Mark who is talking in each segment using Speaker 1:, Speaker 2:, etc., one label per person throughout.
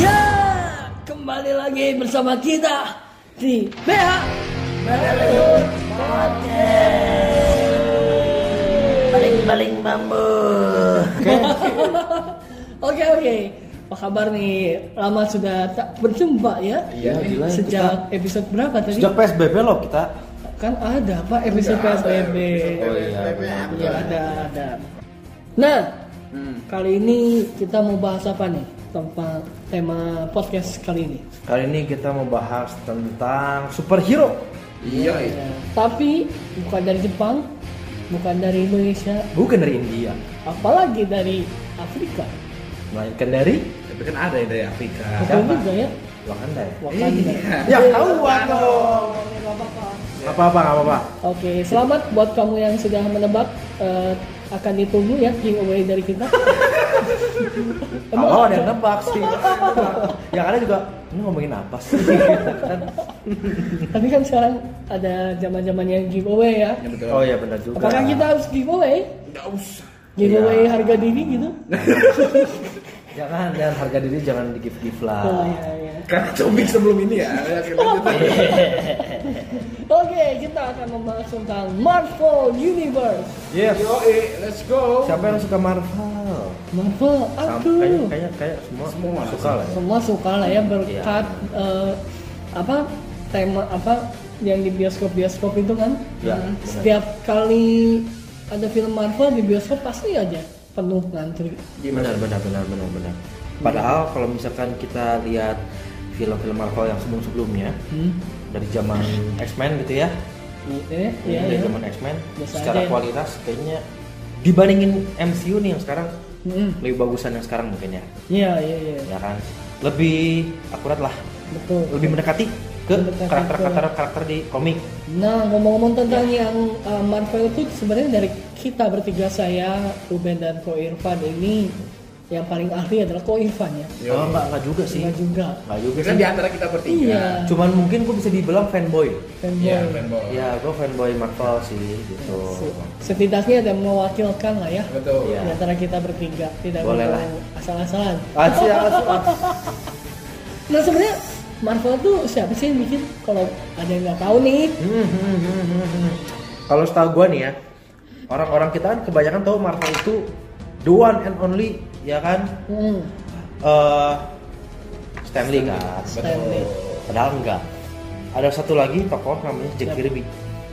Speaker 1: Ya, kembali bersama kita di BH
Speaker 2: Belut Podcast Baling-baling bambu
Speaker 1: Oke oke Apa kabar nih? Lama sudah tak berjumpa ya?
Speaker 3: Iya, gila,
Speaker 1: Sejak episode berapa tadi?
Speaker 3: Sejak PSBB loh kita.
Speaker 1: Kan ada Pak episode PSBB
Speaker 3: Oh iya.
Speaker 1: Ya, ada ada Nah
Speaker 3: Hmm.
Speaker 1: Kali ini kita mau bahas apa nih? Tentang tema podcast kali ini
Speaker 3: Kali ini kita mau bahas tentang superhero.
Speaker 4: Iya,
Speaker 1: Ya, Tapi bukan dari Jepang Bukan dari Indonesia
Speaker 3: Bukan dari India,
Speaker 1: Apalagi dari Afrika
Speaker 3: melainkan dari
Speaker 4: tapi kan ada yang dari Afrika.
Speaker 1: Betul
Speaker 3: Nah, Siapa?
Speaker 1: juga ya
Speaker 3: Wakanda ya.
Speaker 1: Wakanda
Speaker 3: Ya tahu dong. Apa-apa, nggak apa-apa.
Speaker 1: Oke, selamat buat kamu yang sudah menebak eh, akan ditunggu ya giveaway dari kita.
Speaker 3: Kalau ada yang nebak sih. Yang ada juga ini ngomongin apa sih? Kan-
Speaker 1: Tapi kan sekarang ada zaman-zamannya giveaway ya.
Speaker 4: Ya, betul.
Speaker 3: oh iya benar juga.
Speaker 1: Apakah kita harus giveaway?
Speaker 4: Nggak usah.
Speaker 1: Giveaway
Speaker 3: Iya.
Speaker 1: harga diri gitu?
Speaker 3: Jangan Ya kan, jangan harga diri jangan di give give lah.
Speaker 1: Oh, iya, iya.
Speaker 4: Karena cobik sebelum ini ya. ya, kita lanjut.
Speaker 1: Oke, kita akan membahas tentang Marvel Universe.
Speaker 3: Yes.
Speaker 4: Yo, eh, let's go.
Speaker 3: Siapa yang suka Marvel?
Speaker 1: Marvel,
Speaker 3: Sam-
Speaker 1: aduh.
Speaker 3: Kayaknya kayak kayak semua,
Speaker 4: Semua.
Speaker 3: suka lah. ya.
Speaker 1: Semua suka lah ya berkat
Speaker 3: Iya.
Speaker 1: eh, apa tema apa yang di bioskop-bioskop itu kan.
Speaker 3: Ya. benar.
Speaker 1: Setiap kali ada film Marvel di bioskop pasti aja penuh ngantri.
Speaker 3: benar benar benar benar benar padahal kalau misalkan kita lihat film-film Marvel yang sebelum-sebelumnya
Speaker 1: Hmm.
Speaker 3: dari zaman X-Men gitu ya
Speaker 1: Ya, ya,
Speaker 3: dari
Speaker 1: ya.
Speaker 3: zaman X-Men
Speaker 1: Biasa aja
Speaker 3: secara
Speaker 1: ya.
Speaker 3: kualitas kayaknya dibandingin MCU nih yang sekarang
Speaker 1: Hmm.
Speaker 3: lebih bagusan yang sekarang mungkin ya
Speaker 1: Iya, iya, iya.
Speaker 3: ya kan lebih akurat lah
Speaker 1: Betul.
Speaker 3: lebih mendekati ke
Speaker 1: Mendekati ke-
Speaker 3: karakter-karakter karakter di komik
Speaker 1: Nah, ngomong-ngomong tentang yang uh, Marvel itu sebenarnya dari kita bertiga saya, Ruben dan Ko Irfan ini yang paling ahli adalah Ko Irfan ya.
Speaker 4: Yo.
Speaker 3: oh, enggak, enggak juga sih
Speaker 1: Enggak juga.
Speaker 3: enggak juga
Speaker 4: Kan
Speaker 3: sih
Speaker 4: di antara kita bertiga.
Speaker 1: Iya.
Speaker 3: cuman mungkin gue bisa dibilang fanboy
Speaker 1: Fanboy.
Speaker 4: Iya, fanboy.
Speaker 3: ya gue fanboy Marvel sih gitu
Speaker 1: Se- Setidaknya ada mewakilkan lah ya.
Speaker 4: Betul.
Speaker 3: Iya.
Speaker 1: Di antara kita bertiga tidak
Speaker 3: Boleh
Speaker 1: perlu
Speaker 3: lah.
Speaker 1: asal-asalan.
Speaker 3: Asyik, asyik.
Speaker 1: Nah sebenarnya Marvel tuh siapa sih yang bikin? Kalau ada yang nggak tahu nih,
Speaker 3: Hmm, hmm, hmm, hmm, hmm. Kalau setahu gua nih ya, orang-orang kita kan kebanyakan tahu Marvel itu the one and only, ya kan?
Speaker 1: hmm,
Speaker 3: eh Stanley kan.
Speaker 1: Stanley,
Speaker 3: Padahal enggak. Ada satu lagi tokoh namanya Jack Kirby.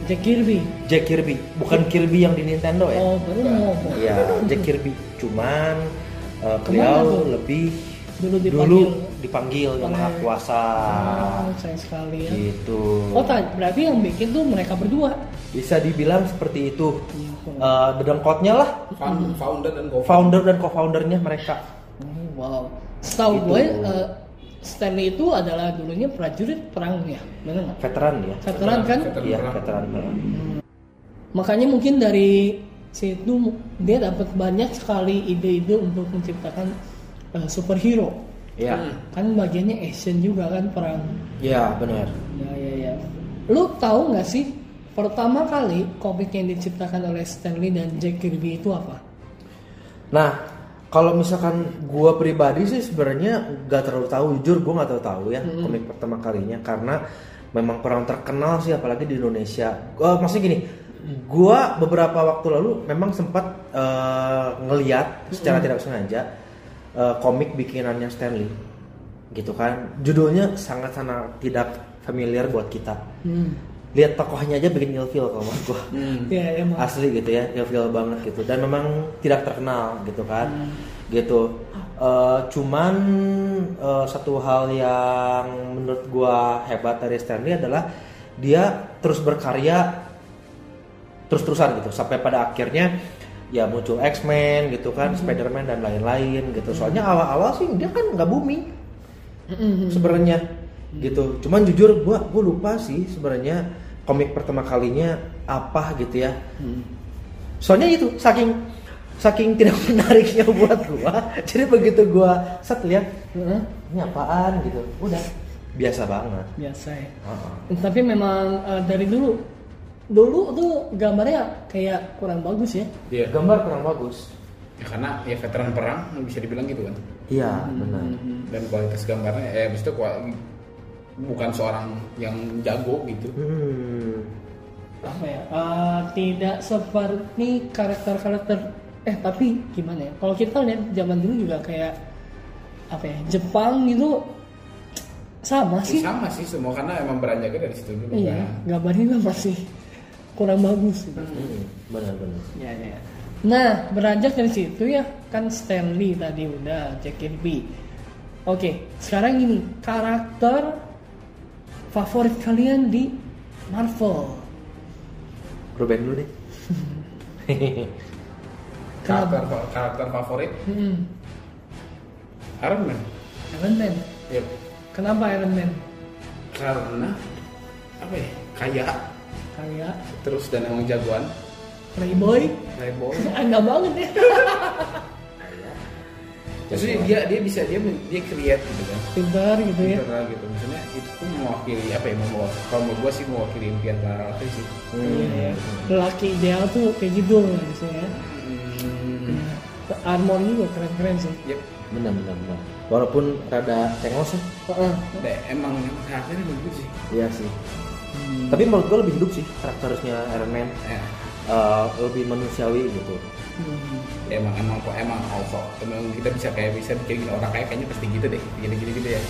Speaker 1: Jack Kirby.
Speaker 3: Jack Kirby, bukan Kirby yang di Nintendo ya.
Speaker 1: Oh baru mau ngomong.
Speaker 3: Iya, Jack Kirby. Cuman eh,
Speaker 1: Kemana
Speaker 3: beliau
Speaker 1: tuh?
Speaker 3: lebih
Speaker 1: Dulu dipanggil.
Speaker 3: dulu dipanggil yang maha
Speaker 1: Oleh-
Speaker 3: kuasa.
Speaker 1: Ah, sayang sekali ya.
Speaker 3: Gitu.
Speaker 1: Oh tak, berarti yang bikin tuh mereka berdua.
Speaker 3: Bisa dibilang seperti itu. Eh dedengkotnya lah.
Speaker 4: Found- Founder dan co
Speaker 3: founder dan co-foundernya mereka.
Speaker 1: Oh, Wow. Setahu
Speaker 3: Gitu.
Speaker 1: gue eh, Stanley itu adalah dulunya prajurit perang ya, benar nggak?
Speaker 3: Veteran ya.
Speaker 1: Veteran kan?
Speaker 4: Veteran
Speaker 3: Iya,
Speaker 4: perang.
Speaker 3: veteran.
Speaker 1: Makanya mungkin dari situ dia dapat banyak sekali ide-ide untuk menciptakan eh, superhero.
Speaker 3: Iya.
Speaker 1: Kan bagiannya action juga kan perang.
Speaker 3: Iya, benar.
Speaker 1: Ya ya ya. Lu tahu nggak sih pertama kali komik yang diciptakan oleh Stanley dan Jack Kirby itu apa?
Speaker 3: Nah, kalau misalkan gua pribadi sih sebenarnya nggak terlalu tahu jujur gua nggak terlalu tahu ya komik pertama kalinya karena memang kurang terkenal sih apalagi di Indonesia. Gua maksudnya gini, gua beberapa waktu lalu memang sempat eh, ngeliat secara tidak sengaja eh, komik bikinannya Stanley gitu kan. Judulnya sangat sangat tidak familiar buat kita.
Speaker 1: Hmm.
Speaker 3: Lihat tokohnya aja bikin ilfil kalau menurut gua.
Speaker 1: Ya ya Mas.
Speaker 3: asli gitu ya ilfil banget gitu dan memang tidak terkenal gitu kan gitu Eh, cuman eh, satu hal yang menurut gua hebat dari Stanley adalah dia terus berkarya terus-terusan gitu sampai pada akhirnya ya muncul X-Men gitu kan Spider-Man dan lain-lain gitu soalnya awal-awal sih dia kan nggak booming sebenarnya gitu cuman jujur gua gua lupa sih sebenarnya komik pertama kalinya apa gitu ya soalnya itu saking saking tidak menariknya buat gua jadi begitu gua set lihat
Speaker 1: Heeh,
Speaker 3: ini apaan gitu udah biasa banget
Speaker 1: Biasa ya.
Speaker 3: Heeh.
Speaker 1: Tapi memang eh, dari dulu dulu tuh gambarnya kayak kurang bagus ya.
Speaker 4: Iya.
Speaker 3: gambar kurang bagus
Speaker 4: Ya, karena ya veteran perang bisa dibilang gitu kan.
Speaker 3: iya benar
Speaker 4: Dan kualitas gambarnya eh maksudnya kual- bukan seorang yang jago gitu
Speaker 3: Hmm.
Speaker 1: apa ya eh, tidak seperti karakter-karakter eh tapi gimana ya kalau kita lihat zaman dulu juga kayak apa ya Jepang gitu sama
Speaker 4: Ya,
Speaker 1: sih
Speaker 4: sama sih semua karena emang beranjaknya dari situ dulu
Speaker 1: iya
Speaker 4: kan.
Speaker 1: gambarnya masih kurang bagus gitu.
Speaker 3: Hmm, Benar-benar.
Speaker 1: Ya, ya. Nah, beranjak dari situ ya, kan Stanley tadi udah, Jack Kirby. Oke, sekarang ini karakter favorit kalian di Marvel.
Speaker 3: Ruben dulu deh.
Speaker 4: karakter karakter favorit
Speaker 1: Hmm,
Speaker 4: Iron Man
Speaker 1: Iron Man.
Speaker 4: ya
Speaker 1: Kenapa Iron Man?
Speaker 4: karena apa ya kaya
Speaker 1: Kayak
Speaker 4: terus dan emang jagoan
Speaker 1: playboy,
Speaker 4: playboy
Speaker 1: anda banget ya.
Speaker 4: terus
Speaker 1: Iya.
Speaker 4: dia dia bisa dia dia create gitu kan
Speaker 1: Pintar gitu ya.
Speaker 4: Internal gitu maksudnya itu tuh mewakili apa ya mau kalau menurut gua sih mewakili impian para lelaki sih
Speaker 3: Hmm.
Speaker 1: Iya, ya. Lelaki ideal tuh kayak gitu misalnya.
Speaker 4: hmm.
Speaker 1: Armor juga keren-keren sih.
Speaker 4: yep.
Speaker 3: Benar-benar. benar. Walaupun rada cengos ya.
Speaker 1: Heeh.
Speaker 4: Nah, emang emang karakternya bagus sih
Speaker 3: Iya sih. Tapi menurut gue lebih hidup sih karakternya Iron Man.
Speaker 4: ya.
Speaker 3: Eh, lebih manusiawi gitu.
Speaker 1: Hmm.
Speaker 4: emang emang kok emang also emang kita bisa kayak bisa bikin gini orang kaya kayaknya pasti gitu deh gini gini gitu ya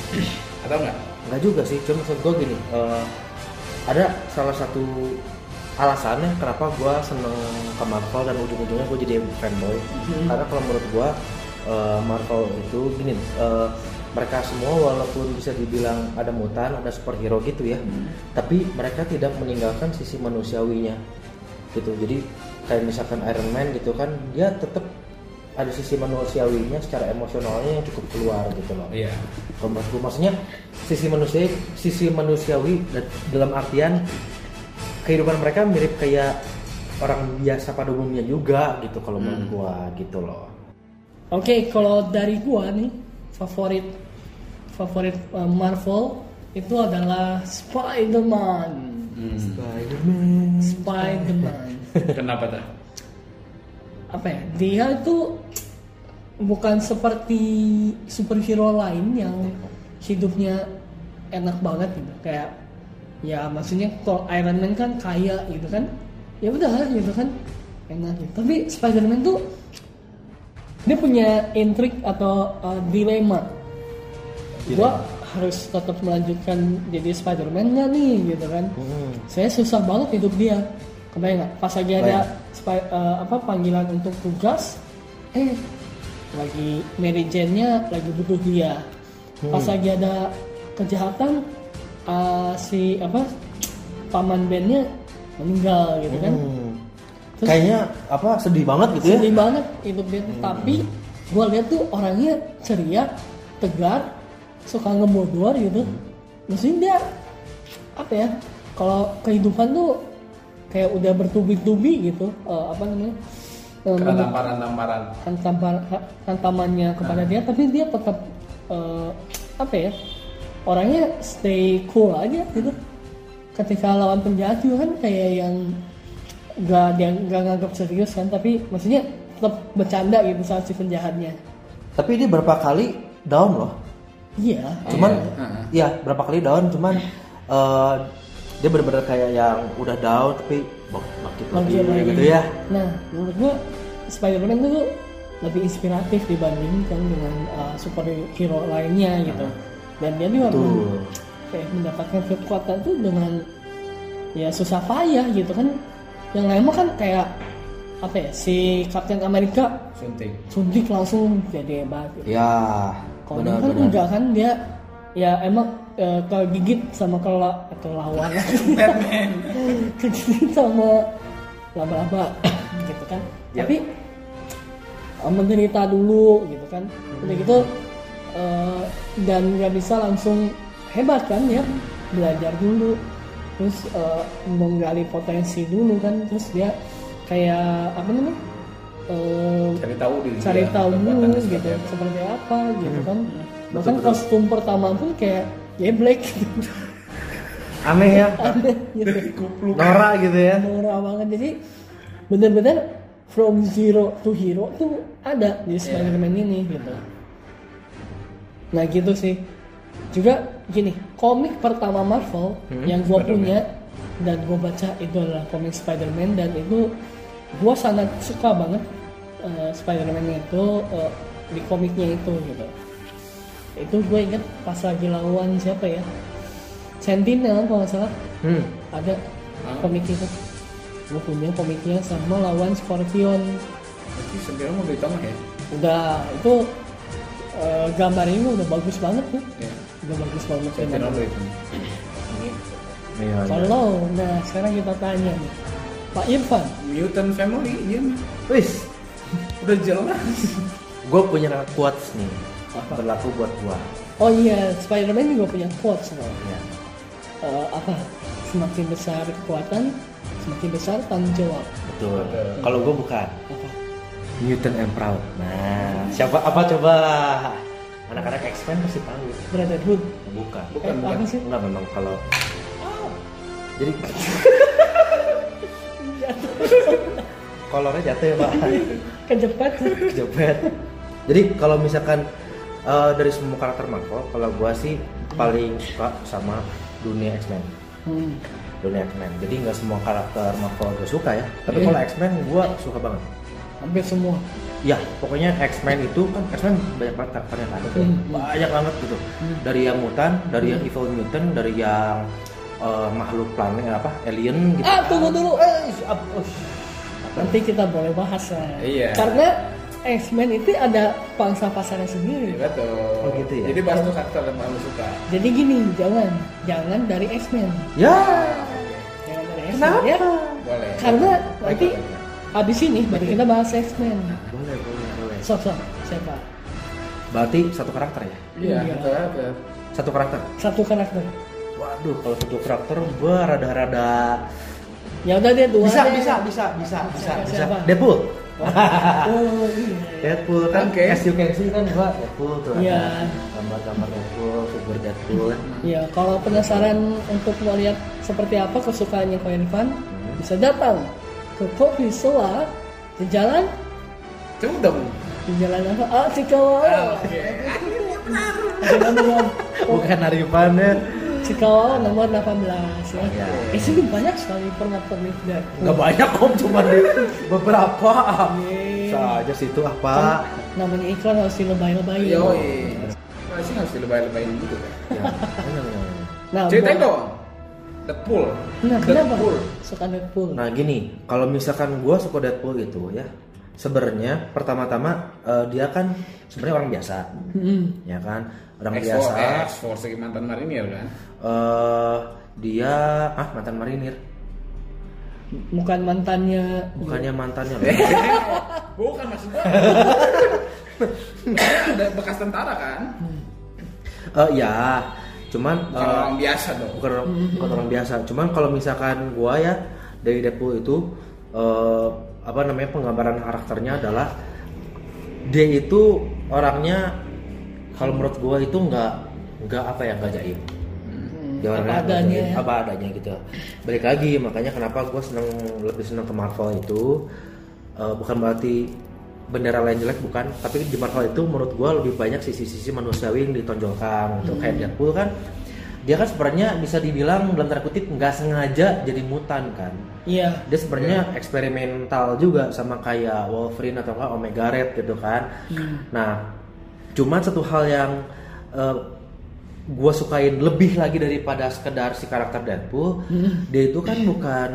Speaker 4: atau enggak
Speaker 3: Enggak juga sih, cuma maksud gue gini. eh, ada salah satu alasannya kenapa gue seneng ke Marvel dan ujung-ujungnya gue jadi fanboy. Karena kalau menurut gue eh, Marvel itu gini. eh, mereka semua walaupun bisa dibilang ada mutan, ada superhero gitu ya, tapi mereka tidak meninggalkan sisi manusiawinya gitu. Jadi kayak misalkan Iron Man gitu kan, dia tetap ada sisi manusiawinya secara emosionalnya yang cukup keluar gitu loh
Speaker 4: iya
Speaker 3: kalau menurut gue, maksudnya sisi manusia sisi manusiawi da- dalam artian kehidupan mereka mirip kayak orang biasa pada umumnya juga gitu kalau menurut
Speaker 1: Hmm.
Speaker 3: gua gitu loh
Speaker 1: Oke, kalau dari gua nih favorit favorit uh, Marvel itu adalah Spider-Man. Hmm.
Speaker 3: Spiderman
Speaker 1: Spider-Man.
Speaker 4: kenapa tuh
Speaker 1: Apa ya? Dia itu bukan seperti superhero lain yang hidupnya enak banget gitu. Kayak ya maksudnya kalau Iron Man kan kaya gitu kan. Ya udah gitu kan. Enak gitu. Tapi Spider-Man tuh dia punya intrik atau uh, dilema. gua harus tetap melanjutkan jadi Spider-Man nggak nih gitu kan
Speaker 3: Hmm.
Speaker 1: saya susah banget hidup dia kebayang nggak pas lagi ada spi- eh, apa panggilan untuk tugas eh lagi Mary Jane-nya lagi butuh dia pas lagi ada kejahatan eh, si apa paman Ben-nya meninggal gitu kan
Speaker 3: Hmm.
Speaker 1: Terus-
Speaker 3: kayaknya apa sedih banget gitu ya
Speaker 1: sedih banget hidup dia tuh. tapi gue lihat tuh orangnya ceria tegar suka ngebodor gitu maksudnya dia apa ya kalau kehidupan tuh kayak udah bertubi-tubi gitu eh, apa namanya eh,
Speaker 4: karena tamparan tamparan
Speaker 1: tantaman tantamannya kepada dia tapi dia tetap eh, apa ya orangnya stay cool aja gitu ketika lawan penjahat juga kan kayak yang gak dia gak nganggap serius kan tapi maksudnya tetap bercanda gitu saat si penjahatnya
Speaker 3: tapi dia berapa kali down loh
Speaker 1: iya
Speaker 3: cuman
Speaker 4: Heeh.
Speaker 3: ya berapa kali down cuman eh, dia bener-bener kayak yang udah down tapi bak- bangkit lagi
Speaker 1: Bangkit lagi.
Speaker 3: gitu ya
Speaker 1: nah menurut gua Spider-Man itu lebih inspiratif dibandingkan dengan eh, superhero lainnya gitu dan dia juga
Speaker 3: Ah. Betul.
Speaker 1: kayak mendapatkan kekuatan tuh dengan ya susah payah gitu kan yang lain mah kan kayak apa ya si Captain America
Speaker 4: suntik
Speaker 1: suntik langsung jadi hebat gitu.
Speaker 3: ya
Speaker 1: kalau dia kan enggak kan dia ya emang eh, kegigit sama kelak atau lawan kegigit sama laba-laba gitu kan
Speaker 3: Yap.
Speaker 1: tapi eh, menderita dulu gitu kan udah gitu eh, dan nggak bisa langsung hebat kan ya belajar dulu terus eh, menggali potensi dulu kan terus dia kayak apa namanya Eh,
Speaker 4: cari tahu diri
Speaker 1: cari
Speaker 4: dia,
Speaker 1: tahu dulu
Speaker 4: kekuatannya
Speaker 1: gitu
Speaker 4: seperti apa.
Speaker 1: seperti apa gitu kan bahkan
Speaker 3: Betul-betul.
Speaker 1: kostum pertama pun kayak ya black gitu
Speaker 3: aneh ya
Speaker 1: aneh gitu
Speaker 3: Nora gitu ya
Speaker 1: murah banget jadi bener-bener from zero to hero
Speaker 3: Iya.
Speaker 1: tuh ada di Spider-Man ini gitu nah gitu sih juga gini komik pertama Marvel
Speaker 3: Hmm,
Speaker 1: yang gue
Speaker 4: Spider-Man.
Speaker 1: punya dan gue baca itu adalah komik Spider-Man dan itu gue sangat suka banget eh, Spider-Man itu eh, di komiknya itu gitu itu gue inget pas lagi lawan siapa ya Sentinel kalau nggak salah
Speaker 3: Hmm.
Speaker 1: ada
Speaker 4: Ah.
Speaker 1: komik itu gue punya komiknya sama lawan Scorpion
Speaker 4: Tapi sebenarnya mau beli tongah ya.
Speaker 1: udah itu eh, gambarnya juga udah bagus banget tuh
Speaker 4: Ya.
Speaker 1: udah bagus banget
Speaker 4: Saya
Speaker 1: memang.
Speaker 4: channel beli tongah.
Speaker 3: Iya, iya.
Speaker 1: kalau nah sekarang kita tanya nih Pak Irfan
Speaker 4: Mutant Family dia mah.
Speaker 3: Wis,
Speaker 4: udah jelas.
Speaker 3: gue punya quotes nih
Speaker 1: Apa?
Speaker 3: berlaku buat gua.
Speaker 1: oh iya Spider-Man juga punya quotes loh.
Speaker 3: Ya.
Speaker 1: Eh, apa semakin besar kekuatan semakin besar tanggung jawab
Speaker 3: Betul.
Speaker 4: Betul.
Speaker 3: Kalau gue bukan
Speaker 1: apa
Speaker 3: Newton and Proud. Nah, siapa apa coba? Anak-anak X-Men pasti tahu.
Speaker 1: Brotherhood
Speaker 3: Bukan. Oh.
Speaker 4: Bukan,
Speaker 1: Eh,
Speaker 4: bukan.
Speaker 1: apa sih
Speaker 3: Enggak memang kalau jadi kolornya jatuh ya pak
Speaker 1: kejepet
Speaker 3: kejepet jadi kalau misalkan eh, dari semua karakter Marvel kalau gua sih paling suka sama dunia X-Men
Speaker 1: hmm.
Speaker 3: dunia X-Men jadi nggak semua karakter Marvel gue suka ya tapi
Speaker 1: Iya.
Speaker 3: kalau X-Men gue suka banget
Speaker 1: hampir semua
Speaker 3: ya pokoknya X-Men itu kan X-Men banyak banget karakternya kan
Speaker 1: Hmm.
Speaker 3: banyak banget gitu
Speaker 1: Hmm.
Speaker 3: dari yang mutan dari yang evil mutant dari yang eh, makhluk planet apa alien gitu
Speaker 1: ah tunggu dulu eh
Speaker 3: Up, ush.
Speaker 1: nanti kita boleh bahas lah
Speaker 4: Iya.
Speaker 1: karena X-Men itu ada pangsa pasarnya sendiri
Speaker 4: Iya betul.
Speaker 3: Oh, gitu ya?
Speaker 4: Jadi bahas tuh karakter yang kamu suka.
Speaker 1: Jadi gini, jangan, jangan dari X-Men.
Speaker 3: ya
Speaker 1: Jangan dari X-Men
Speaker 3: kenapa
Speaker 1: ya.
Speaker 4: Boleh.
Speaker 1: Karena
Speaker 4: Baik,
Speaker 1: nanti
Speaker 4: baik, baik.
Speaker 1: habis ini baru kita bahas X-Men.
Speaker 3: boleh boleh boleh
Speaker 1: Sok sok siapa?
Speaker 3: berarti satu karakter ya
Speaker 4: Iya,
Speaker 1: Iya.
Speaker 4: karakter.
Speaker 3: satu karakter
Speaker 1: Satu karakter.
Speaker 3: waduh kalau satu karakter gue rada-rada
Speaker 1: Ya udah dia dua.
Speaker 3: bisa
Speaker 1: deh.
Speaker 3: bisa bisa bisa bisa
Speaker 1: Siapa,
Speaker 3: bisa
Speaker 1: siapa?
Speaker 3: Deadpool
Speaker 1: Oh, iya.
Speaker 3: Deadpool kan
Speaker 4: Oke.
Speaker 3: as you can see kan gua Deadpool tuh ada
Speaker 1: Iya.
Speaker 3: gambar-gambar Deadpool, figur Deadpool.
Speaker 1: Ya, kalau penasaran untuk melihat seperti apa kesukaannya Ko Irfan,
Speaker 4: Hmm.
Speaker 1: bisa datang ke Kopi Soa di jalan
Speaker 4: Coba dong.
Speaker 1: di jalan apa? Ah, Cikawao.
Speaker 4: Oke.
Speaker 1: Jalan Rumah-
Speaker 3: Bukan Arifan ya.
Speaker 1: Cikawao nomor 18 ya.
Speaker 3: Iya.
Speaker 1: Di sini banyak sekali pernak-pernik dan
Speaker 3: Enggak banyak om cuma di beberapa. Saja situ apa?
Speaker 1: namanya iklan harus dilebay-lebayin.
Speaker 3: Iya,
Speaker 4: Yoi. Masih Iya. Nah, harus dilebay-lebayin gitu kan.
Speaker 3: Ya, bener, bener, bener.
Speaker 1: Nah,
Speaker 4: Ceritain
Speaker 1: buat-
Speaker 4: dong. Deadpool.
Speaker 1: Nah, kenapa?
Speaker 4: Deadpool.
Speaker 1: Suka Deadpool.
Speaker 3: Nah gini, kalau misalkan gua suka Deadpool gitu ya, sebenarnya pertama-tama eh, dia kan sebenarnya orang biasa,
Speaker 1: Mm-mm.
Speaker 3: ya kan orang
Speaker 4: X-Force,
Speaker 3: biasa.
Speaker 4: eh, X-Force lagi mantan marinir kan.
Speaker 3: eh, dia ah mantan marinir,
Speaker 1: Bukan mantannya.
Speaker 3: bukannya
Speaker 4: Iya.
Speaker 3: mantannya. loh.
Speaker 4: Bukan maksud gua. Ada bekas tentara kan?
Speaker 3: Eh, ya, cuman
Speaker 4: Bukan
Speaker 3: eh,
Speaker 4: orang biasa dong.
Speaker 3: bukan orang, bukan orang biasa. Cuman kalau misalkan gua ya dari Deadpool itu eh, apa namanya penggambaran karakternya adalah dia itu orangnya kalau menurut gua itu nggak nggak apa ya nggak jaim. Dia orangnya
Speaker 1: Apa
Speaker 3: nggak
Speaker 1: adanya
Speaker 3: jaim,
Speaker 1: ya.
Speaker 3: apa adanya gitu. Balik lagi makanya kenapa gua seneng lebih seneng ke Marvel itu eh, bukan berarti bendera lain jelek bukan tapi di Marvel itu menurut gua lebih banyak sisi-sisi manusiawi yang ditonjolkan untuk
Speaker 1: Hmm.
Speaker 3: kayak Deadpool kan dia kan sebenarnya bisa dibilang dalam tanda kutip nggak sengaja jadi mutan kan
Speaker 1: Iya.
Speaker 3: dia sebenarnya eksperimental juga sama kayak Wolverine atau enggak Omega Red gitu kan.
Speaker 1: Hmm.
Speaker 3: Nah, cuman satu hal yang gue sukain lebih lagi daripada sekedar si karakter Deadpool,
Speaker 1: Hmm.
Speaker 3: dia itu kan bukan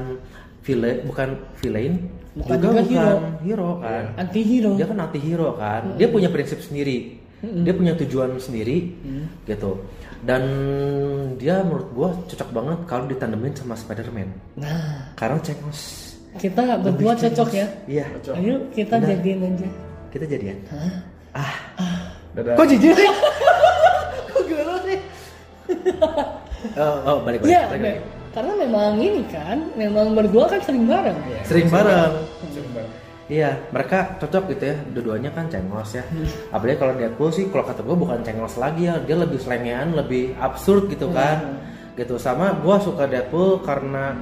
Speaker 3: villain, bukan villain,
Speaker 1: Bukan
Speaker 3: juga,
Speaker 1: juga
Speaker 3: bukan
Speaker 1: hero. Iya. Hmm.
Speaker 3: hero, kan.
Speaker 1: Anti hero.
Speaker 3: Dia kan anti hero kan. Dia punya prinsip sendiri.
Speaker 1: Hmm.
Speaker 3: Dia punya tujuan sendiri gitu. Dan dia menurut gue cocok banget kalau ditandemin sama Spider-Man.
Speaker 1: Nah,
Speaker 3: Karena cengos.
Speaker 1: kita berdua cocok ya.
Speaker 3: Iya.
Speaker 1: Ayo kita
Speaker 3: Benar.
Speaker 1: jadiin aja.
Speaker 3: Kita jadian.
Speaker 1: Hah?
Speaker 4: Dadah.
Speaker 3: Kok jijik sih?
Speaker 1: Kok gelo sih?
Speaker 3: oh, oh, balik balik.
Speaker 1: Iya,
Speaker 3: balik,
Speaker 1: Be.
Speaker 3: balik.
Speaker 1: karena memang ini kan, memang berdua kan sering bareng.
Speaker 4: Iya,
Speaker 3: Sering bareng.
Speaker 4: Sering bareng.
Speaker 3: Iya, mereka cocok gitu ya. Dua-duanya kan cengos ya.
Speaker 1: Hmm.
Speaker 3: Apalagi kalau Deadpool sih kalau kata gue bukan cengos lagi ya, dia lebih selengean, lebih absurd gitu
Speaker 1: Iya.
Speaker 3: kan. Gitu sama gue suka Deadpool karena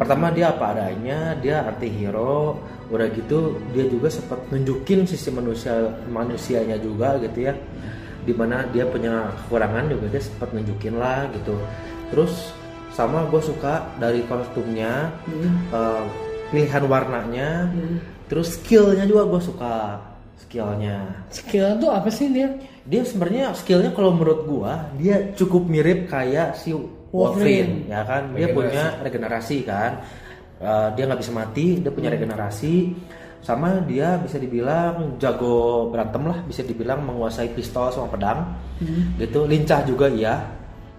Speaker 3: pertama dia apa adanya, dia anti hero, udah gitu dia juga sempat nunjukin sisi manusia manusianya juga gitu ya. dimana dia punya kekurangan juga dia sempat nunjukin lah gitu terus sama gue suka dari kostumnya eh, pilihan warnanya terus skillnya juga gue suka skillnya
Speaker 1: Skill tuh apa sih dia?
Speaker 3: dia sebenarnya skillnya kalau menurut gua dia cukup mirip kayak si
Speaker 1: Wolverine.
Speaker 3: Wolverine, ya kan dia
Speaker 4: Regenerasi.
Speaker 3: punya regenerasi kan Eh, dia nggak bisa mati dia punya regenerasi sama dia bisa dibilang jago berantem lah bisa dibilang menguasai pistol sama pedang gitu lincah juga iya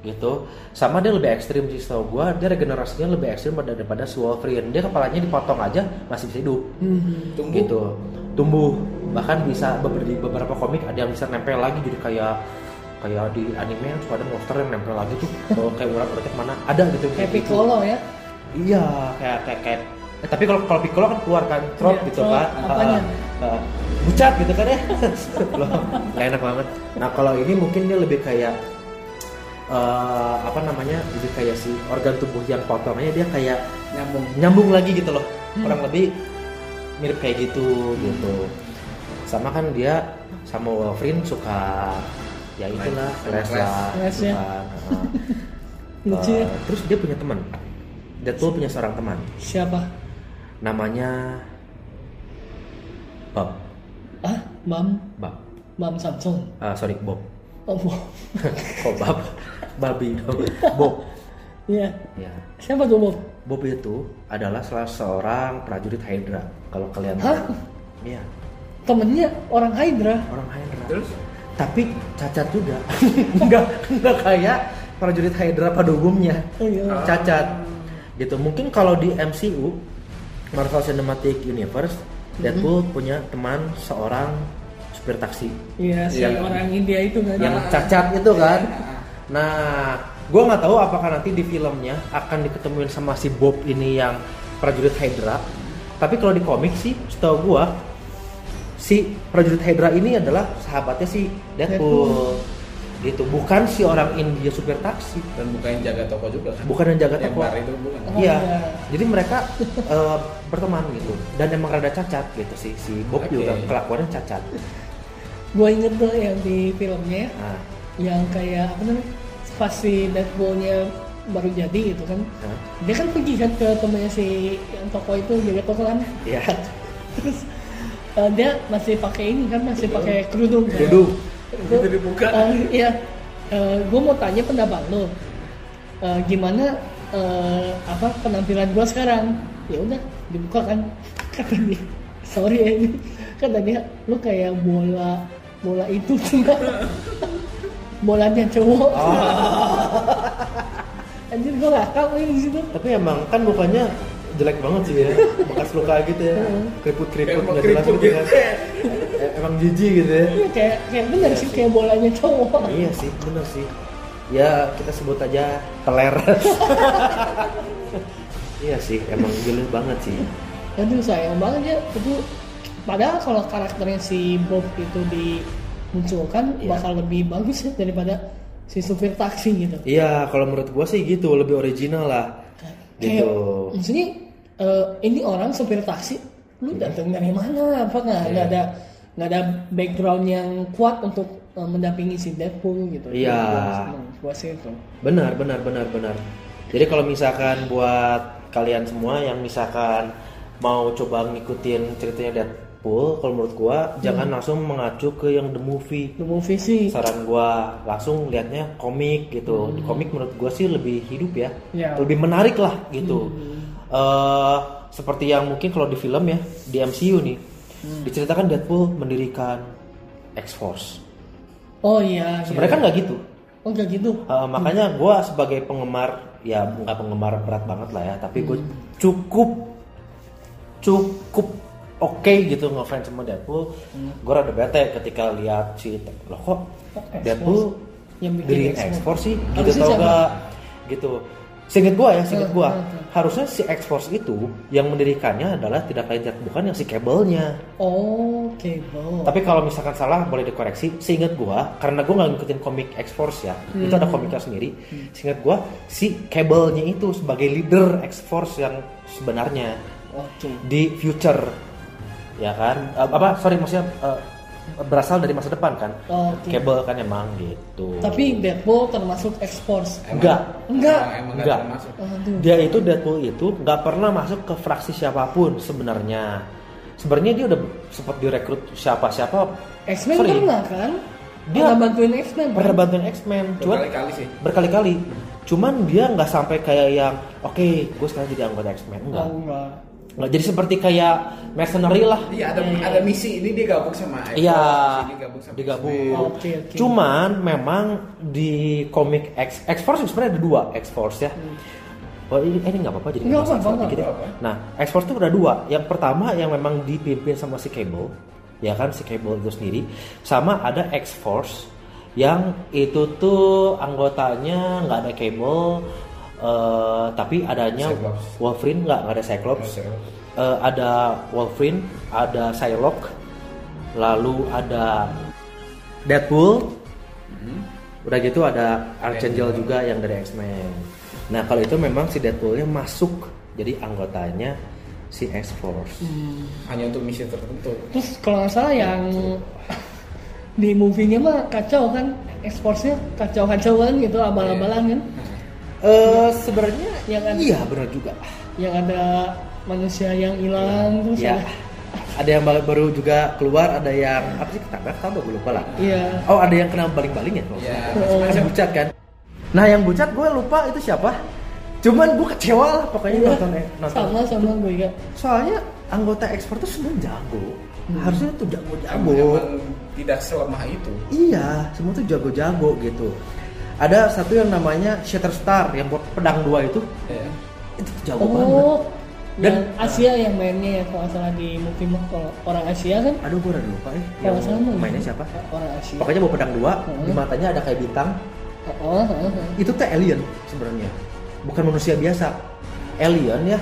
Speaker 3: gitu sama dia lebih ekstrim sih setahu gua dia regenerasinya lebih ekstrim pada- daripada si Wolverine dia kepalanya dipotong aja masih bisa hidup
Speaker 4: Tunggu.
Speaker 3: gitu tumbuh bahkan bisa beber- di beberapa komik ada yang bisa nempel lagi jadi kayak kayak di anime yang suka ada monster yang nempel lagi tuh kalau kayak urat uratnya kemana ada gitu
Speaker 1: Kayak
Speaker 3: gitu.
Speaker 1: Piccolo ya?
Speaker 3: iya kayak kayak, kayak- eh, tapi kalau kalau Piccolo kan keluarkan trot
Speaker 1: Iya,
Speaker 3: gitu
Speaker 1: trot,
Speaker 3: kan
Speaker 1: apanya?
Speaker 3: Eh, eh, bucat gitu kan ya loh gak enak banget nah kalau ini mungkin dia lebih kayak eh, apa namanya lebih kayak si organ tubuh yang potongnya dia kayak
Speaker 4: Nyambung.
Speaker 3: nyambung lagi gitu loh
Speaker 1: Hmm.
Speaker 3: kurang lebih mirip kayak gitu gitu sama kan dia sama Wolverine suka ya itulah kelas
Speaker 4: Kelas.
Speaker 3: lah
Speaker 1: Kelas
Speaker 3: suka.
Speaker 1: ya.
Speaker 3: Nah,
Speaker 1: Lucu ya.
Speaker 3: eh, terus dia punya teman Deadpool punya seorang teman
Speaker 1: Siapa?
Speaker 3: namanya Bob
Speaker 1: Ah, Mam,
Speaker 3: Bob
Speaker 1: Mam Samsung.
Speaker 3: Eh, sorry Bob
Speaker 1: Oh, wow.
Speaker 3: kok Bob babi dong Bob
Speaker 1: Iya.
Speaker 3: ya
Speaker 1: Siapa tuh Bob?
Speaker 3: Bob itu adalah salah seorang prajurit Hydra kalau kalian
Speaker 1: Hah?
Speaker 3: tahu. iya
Speaker 1: Temennya orang Hydra.
Speaker 3: orang Hydra
Speaker 4: Terus?
Speaker 3: tapi cacat juga nggak nggak kayak prajurit Hydra pada umumnya
Speaker 1: Oh, iya.
Speaker 3: cacat gitu mungkin kalau di MCU Marvel Cinematic Universe Deadpool punya teman seorang supir taksi
Speaker 1: Iya, si
Speaker 4: Iya.
Speaker 1: orang India itu kan.
Speaker 3: yang cacat itu kan nah gue nggak tahu apakah nanti di filmnya akan diketemuin sama si Bob ini yang prajurit Hydra tapi kalau di komik sih setahu gue si prajurit Hydra ini adalah sahabatnya si Deadpool, gitu bukan si orang India supir taksi
Speaker 4: Dan bukan yang jaga toko juga kan?
Speaker 3: bukan yang jaga
Speaker 4: Yang
Speaker 3: toko
Speaker 4: bar itu bukan.
Speaker 1: Oh,
Speaker 3: iya
Speaker 1: iya.
Speaker 3: jadi mereka eh, berteman gitu dan emang rada cacat gitu sih si Bob
Speaker 4: Oke.
Speaker 3: juga kelakuannya cacat
Speaker 1: Gue inget tuh yang di filmnya
Speaker 3: nah,
Speaker 1: yang kayak apa namanya? Pas si Deadpool-nya baru jadi gitu kan.
Speaker 3: nah,
Speaker 1: Dia kan pergi kan ke temennya si yang toko itu jaga toko kan.
Speaker 3: Iya.
Speaker 1: Terus eh, dia masih pakai ini kan, masih pakai kerudung. kan?
Speaker 3: duduk
Speaker 4: Itu dibuka.
Speaker 1: Eh, iya, gue mau tanya pendapat lo, Eh, gimana eh, apa penampilan gue sekarang? Ya udah, dibuka kan? Kata dia, sorry ya ini, kata dia, lu kayak bola bola itu cuma bolanya cowok. Anjir gue ngakak nih di situ.
Speaker 3: Tapi emang kan mukanya jelek banget sih ya, bekas luka gitu ya, keriput-keriput
Speaker 4: Emang
Speaker 3: nggak jelas
Speaker 4: keriput
Speaker 3: gitu kan. Eh, Emang jijik gitu ya.
Speaker 1: Iya kayak kayak bener sih kayak bolanya cowok.
Speaker 3: Iya sih, bener sih. Ya kita sebut aja peler. iya sih, emang gila banget sih.
Speaker 1: Aduh sayang banget ya itu padahal kalau karakternya si Bob itu dimunculkan
Speaker 3: Iya.
Speaker 1: bakal lebih bagus ya daripada si supir taksi gitu.
Speaker 3: Iya, kalau menurut gua sih gitu, lebih original lah.
Speaker 1: Kayak,
Speaker 3: Gitu.
Speaker 1: maksudnya eh, ini orang supir taksi lu
Speaker 3: Iya.
Speaker 1: datang dari mana? Apa nggak nggak ada nggak ada background yang kuat untuk eh, mendampingi si Deadpool gitu.
Speaker 3: Iya.
Speaker 1: Gua sih itu.
Speaker 3: Benar, benar, benar, benar. Jadi kalau misalkan buat kalian semua yang misalkan mau coba ngikutin ceritanya Deadpool, kalau menurut gua jangan langsung mengacu ke yang the movie.
Speaker 1: The movie sih.
Speaker 3: Saran gua langsung liatnya komik gitu. Di komik menurut gua sih lebih hidup ya,
Speaker 1: Iya.
Speaker 3: lebih menarik lah gitu. eh seperti yang mungkin kalau di film ya di MCU nih diceritakan Deadpool mendirikan X Force.
Speaker 1: Oh iya. iya.
Speaker 3: Sebenarnya kan nggak gitu.
Speaker 1: Oh nggak gitu.
Speaker 3: Uh, makanya gue sebagai penggemar ya nggak penggemar berat banget lah ya tapi gue cukup cukup oke gitu ngefans sama Deadpool gue rada bete ketika lihat si loh kok
Speaker 1: Kok
Speaker 3: Deadpool
Speaker 1: X-Force? Yang bikin
Speaker 3: dari
Speaker 1: X-Force?
Speaker 3: ekspor sih gitu
Speaker 1: Harusnya
Speaker 3: tau
Speaker 1: siapa?
Speaker 3: gak gitu Seinget gue ya, seinget
Speaker 1: Hmm,
Speaker 3: gue
Speaker 1: hmm, hmm.
Speaker 3: harusnya si X Force itu yang mendirikannya adalah tidak lain tidak bukan yang si kabelnya.
Speaker 1: Oh, Oke, Bob.
Speaker 3: Tapi kalau misalkan salah boleh dikoreksi. Seingat gua, karena gua nggak ngikutin komik X Force ya,
Speaker 1: Hmm.
Speaker 3: itu ada komiknya sendiri. Seingat gua, si Cable-nya itu sebagai leader X Force yang sebenarnya
Speaker 1: Oke.
Speaker 3: di future, ya kan? Eh, apa? Sorry, maksudnya eh, berasal dari masa depan kan
Speaker 1: Oh, oke.
Speaker 3: Cable kan emang gitu
Speaker 1: Tapi Deadpool termasuk X-Force.
Speaker 4: Emang-
Speaker 3: Enggak.
Speaker 1: Enggak.
Speaker 4: emang- emang
Speaker 3: Enggak.
Speaker 4: pernah masuk.
Speaker 1: Aduh.
Speaker 3: dia itu Deadpool itu nggak pernah masuk ke fraksi siapapun sebenarnya sebenarnya dia udah sempat direkrut siapa-siapa
Speaker 1: X-Men
Speaker 3: Sorry.
Speaker 1: pernah kan?
Speaker 3: Dia-
Speaker 1: Pernah bantuin X-Men. kan?
Speaker 3: pernah bantuin X-Men cuman
Speaker 4: Berkali-kali sih.
Speaker 3: berkali-kali cuman dia nggak sampai kayak yang oke gue sekarang jadi anggota X-Men enggak
Speaker 1: Oh, enggak.
Speaker 3: nggak jadi seperti kayak mercenary lah
Speaker 4: Iya ada ada misi ini dia gabung sama Apple,
Speaker 3: Iya,
Speaker 4: misi ini gabung sama
Speaker 3: digabung. Oh,
Speaker 4: X-Men.
Speaker 1: Oke, oke.
Speaker 3: Cuman memang di komik X X Force sebenarnya ada dua X Force ya. Oh ini eh, ini nggak apa-apa jadi
Speaker 1: Nggak
Speaker 3: ngomong
Speaker 1: apa-apa,
Speaker 3: X-Force
Speaker 1: nggak
Speaker 3: dikit ya.
Speaker 4: Hmm. apa-apa.
Speaker 3: Nah X Force itu ada dua. Yang pertama yang memang dipimpin sama si Cable, ya kan si Cable itu sendiri. Sama ada X Force yang itu tuh anggotanya nggak ada Cable, eh, tapi adanya
Speaker 4: Cyclops.
Speaker 3: Wolverine nggak nggak ada Cyclops.
Speaker 4: Nggak ada Cyclops.
Speaker 3: Eh, ada Wolverine, ada Psylocke, lalu ada Deadpool,
Speaker 4: Mhm.
Speaker 3: udah gitu ada Archangel juga yang dari X-Men. Nah kalau itu memang si Deadpoolnya masuk jadi anggotanya si X-Force.
Speaker 4: Hanya untuk misi tertentu.
Speaker 1: Terus kalau nggak salah yang di movie-nya mah kacau kan? X-Force-nya kacau-kacau kan gitu, abal-abalan kan?
Speaker 3: Eh sebenarnya
Speaker 1: Iya kan?
Speaker 3: iya benar juga.
Speaker 1: Yang ada manusia yang hilang terus
Speaker 3: Ya
Speaker 1: ada-
Speaker 3: ada yang baru- baru juga keluar, ada yang apa sih ketabrak? Tahu gue lupa lah.
Speaker 1: Iya.
Speaker 3: Oh ada yang kena baling-baling ya? kalau
Speaker 4: Iya.
Speaker 1: Oh.
Speaker 3: Ada bucat kan? Nah yang bucat gue lupa itu siapa? Cuman gue kecewa lah pokoknya
Speaker 1: Iya.
Speaker 3: nonton ya, nonton.
Speaker 1: Sama sama gue juga.
Speaker 3: Soalnya anggota ekspor tuh sebenarnya jago.
Speaker 1: Hmm.
Speaker 3: Harusnya tuh jago-jago.
Speaker 4: Emang tidak selemah itu.
Speaker 3: Iya, semua tuh jago-jago gitu. Ada satu yang namanya Shatterstar yang buat pedang dua itu,
Speaker 4: Ya.
Speaker 3: itu tuh jago banget.
Speaker 1: Oh, yang
Speaker 3: Dan-
Speaker 1: Asia yang mainnya ya kalau nggak salah di movie mah kalau orang Asia kan
Speaker 3: Aduh gue udah lupa ya.
Speaker 1: kalau nggak salah mah
Speaker 3: mainnya
Speaker 1: gitu.
Speaker 3: siapa?
Speaker 1: Orang Asia.
Speaker 3: Pokoknya bawa pedang dua,
Speaker 1: Hmm.
Speaker 3: di matanya ada kayak bintang.
Speaker 1: Oh, oh, oh, oh.
Speaker 3: Itu tuh alien sebenarnya, bukan manusia biasa. Alien ya.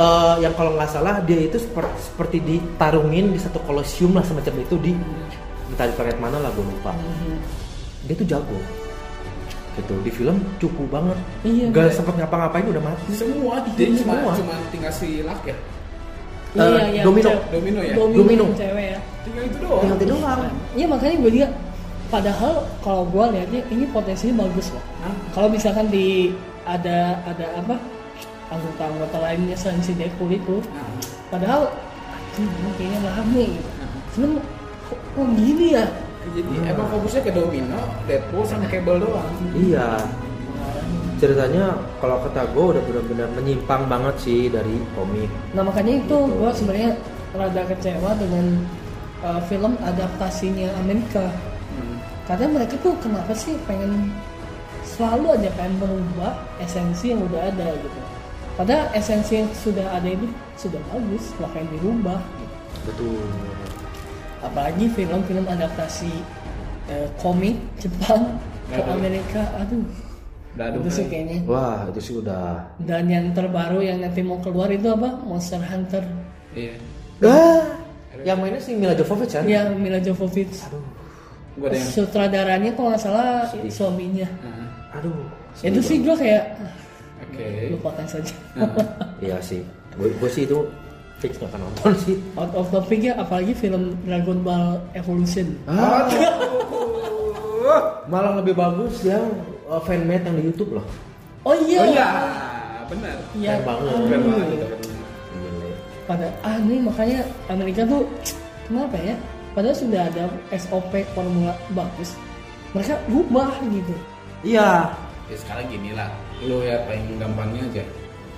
Speaker 3: Eh, yang kalau nggak salah dia itu seperti, seperti ditarungin di satu kolosium lah semacam itu di entah di planet mana lah gue lupa.
Speaker 1: Mm-hmm.
Speaker 3: dia tuh jago gitu di film cukup banget
Speaker 1: Iya,
Speaker 3: gak
Speaker 1: bener.
Speaker 3: sempet ngapa-ngapain udah mati
Speaker 4: Semua jadi cuma
Speaker 3: Iya, Semua.
Speaker 4: cuma tinggal si Lak ya.
Speaker 1: Iya,
Speaker 3: Eh,
Speaker 1: yang
Speaker 3: domino.
Speaker 1: cewek-
Speaker 4: Domino ya?
Speaker 1: Domino,
Speaker 3: Domino.
Speaker 1: yang cewek ya.
Speaker 4: Tinggal itu doang.
Speaker 3: nanti doang
Speaker 1: Iya makanya gue juga padahal kalau gue lihatnya ini potensinya bagus loh.
Speaker 4: Nah,
Speaker 1: Kalau misalkan di ada ada apa anggota-anggota lainnya selain si Deadpool itu,
Speaker 4: Nah,
Speaker 1: padahal aduh, ini kayaknya rame gitu. Cuman kok, kok gini ya?
Speaker 4: jadi emang fokusnya ke Domino, Deadpool sama Cable doang.
Speaker 3: iya ceritanya kalau kata gue udah benar-benar menyimpang banget sih dari komik
Speaker 1: Nah makanya itu gue sebenarnya rada kecewa dengan uh, film adaptasinya Amerika.
Speaker 4: Hmm.
Speaker 1: Karena mereka tuh kenapa sih pengen selalu aja pengen merubah esensi yang udah ada gitu. Padahal esensi yang sudah ada itu sudah bagus, makanya dirubah. Gitu.
Speaker 3: betul
Speaker 1: Apalagi film-film adaptasi eh, komik Jepang ke
Speaker 4: Aduh.
Speaker 1: Amerika, aduh,
Speaker 4: Udah aduh.
Speaker 1: itu sih kayaknya.
Speaker 3: wah itu sih udah
Speaker 1: Dan yang terbaru yang nanti mau keluar itu apa? Monster Hunter
Speaker 4: Iya.
Speaker 3: ah yang mainnya si Mila Jovovich kan
Speaker 1: yang Iya, Mila Jovovich.
Speaker 4: Gua ada yang
Speaker 1: Sutradaranya kalau nggak salah
Speaker 3: Si-
Speaker 1: suaminya.
Speaker 4: Nah,
Speaker 3: aduh
Speaker 1: Itu
Speaker 3: sedih
Speaker 1: sih gue kayak "Ah,
Speaker 4: Oke.
Speaker 1: lupakan saja.
Speaker 4: Nah.
Speaker 3: banget. iya sih gue gue sih itu fix gak akan nonton sih
Speaker 1: Out of topic ya, apalagi film Dragon Ball Evolution.
Speaker 3: Ah. malah lebih bagus yang uh, fanmade yang di YouTube loh
Speaker 1: Oh iya.
Speaker 4: Oh iya, benar.
Speaker 1: Iya.
Speaker 4: Iya.
Speaker 3: Keren banget.
Speaker 1: aduh.
Speaker 4: Keren banget itu.
Speaker 3: Gile.
Speaker 1: Pada ah nih makanya Amerika tuh kenapa ya? Padahal sudah ada SOP formula bagus. Mereka rubah gitu.
Speaker 3: Iya,
Speaker 4: Ya sekarang gini lah, lu ya paling gampangnya aja.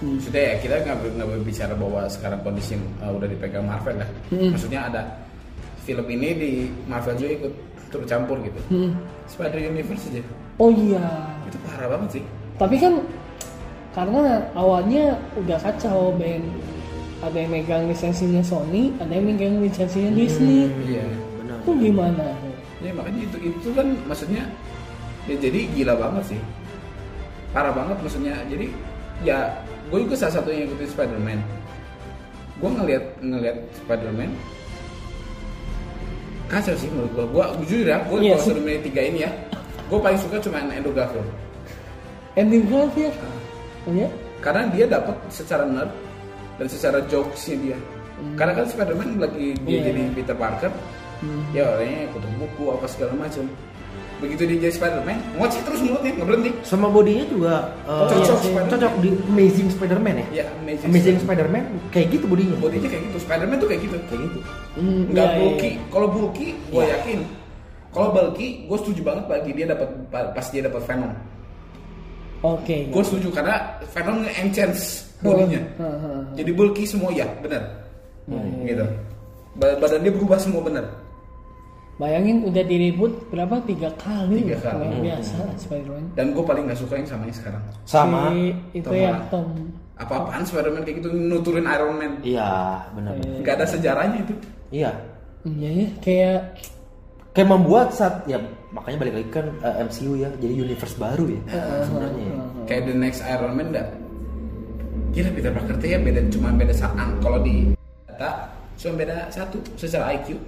Speaker 4: Maksudnya ya kita nggak ber- nggak berbicara bahwa sekarang kondisi uh, udah dipegang Marvel lah. Maksudnya ada film ini di Marvel juga ikut tercampur gitu.
Speaker 1: Hmm.
Speaker 4: Spider Universe aja.
Speaker 1: Oh iya.
Speaker 4: Itu parah banget sih.
Speaker 1: Tapi kan karena awalnya udah kacau band ada yang megang lisensinya Sony, ada yang megang lisensinya Disney.
Speaker 4: Iya.
Speaker 3: Hmm. benar.
Speaker 1: Itu gimana?
Speaker 4: Ya makanya itu itu kan maksudnya ya jadi gila banget sih. Parah banget maksudnya. Jadi ya gue juga salah satunya yang ikutin Spider-Man. Gue ngelihat ngelihat Spider-Man kacau sih menurut gue. Gue jujur ya, gue
Speaker 1: Iya
Speaker 4: kalau
Speaker 1: sih.
Speaker 4: suruh milih tiga ini ya, gue paling suka cuma Andrew Garfield.
Speaker 1: Ending Garfield.
Speaker 3: Ah.
Speaker 1: Ya?
Speaker 4: Karena dia dapat secara nerd dan secara jokesnya dia. Karena kan Spider-Man lagi dia
Speaker 1: Hmm. Iya. Hmm.
Speaker 4: jadi Peter Parker, ya orangnya kutub buku apa segala macam begitu dia jadi Spiderman ngoci terus mulutnya nggak berhenti
Speaker 3: sama bodinya juga eh,
Speaker 4: Cocok
Speaker 3: cocok,
Speaker 4: Spider-Man.
Speaker 3: di Amazing Spider-Man ya.
Speaker 4: ya amazing,
Speaker 3: Amazing Spider-Man kayak gitu bodinya.
Speaker 4: bodinya kayak gitu Spiderman tuh kayak gitu
Speaker 3: Kayak gitu.
Speaker 1: Hmm,
Speaker 4: nggak
Speaker 1: iya, iya.
Speaker 4: bulky kalau bulky gue
Speaker 3: Iya.
Speaker 4: yakin kalau bulky gue setuju banget bagi dia dapat pas dia dapat Venom
Speaker 1: Iya. Oke.
Speaker 4: gue setuju karena Venom nge-enchance bodinya
Speaker 1: Heeh, heeh.
Speaker 4: jadi bulky semua ya benar
Speaker 1: Iya,
Speaker 4: gitu Ba- badan dia berubah semua benar
Speaker 1: Bayangin udah diribut berapa tiga kali.
Speaker 4: Tiga kali.
Speaker 1: Luar biasa Spider-Man.
Speaker 4: dan gue paling nggak suka yang sama yang sekarang
Speaker 3: Sama.
Speaker 1: Si, itu
Speaker 4: Tom
Speaker 1: ya
Speaker 4: Holland.
Speaker 1: Tom.
Speaker 4: apa-apaan Spiderman kayak gitu nuturin Iron Man
Speaker 3: Iya, benar.
Speaker 4: nggak ada sejarahnya itu
Speaker 3: Iya.
Speaker 1: Iya ya, kayak
Speaker 3: Kayak membuat saat ya makanya balik lagi kan eh, MCU ya, jadi universe baru ya
Speaker 1: Eh,
Speaker 3: sebenarnya. ya.
Speaker 1: Hmm.
Speaker 4: kayak the next Iron Man dah gila Peter Parker tuh ya beda cuma beda saat kalau di data cuma beda satu secara IQ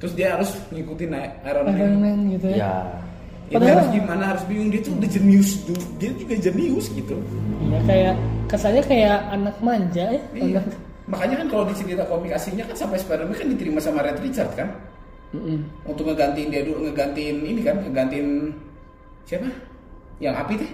Speaker 4: terus dia harus ngikutin Iron Man
Speaker 1: Iron Man gitu ya.
Speaker 3: Iya.
Speaker 4: Ya,
Speaker 1: Padahal-
Speaker 4: harus gimana harus bingung dia tuh udah jenius dude. dia juga jenius gitu
Speaker 1: Iya, kayak kesannya kayak anak manja ya.
Speaker 4: Iya.
Speaker 1: Anak.
Speaker 4: makanya kan kalau di cerita komik aslinya kan sampai Spider-Man kan diterima sama Red Richard kan
Speaker 1: Mm-mm.
Speaker 4: untuk ngegantiin dia dulu ngegantiin ini kan ngegantiin siapa yang api deh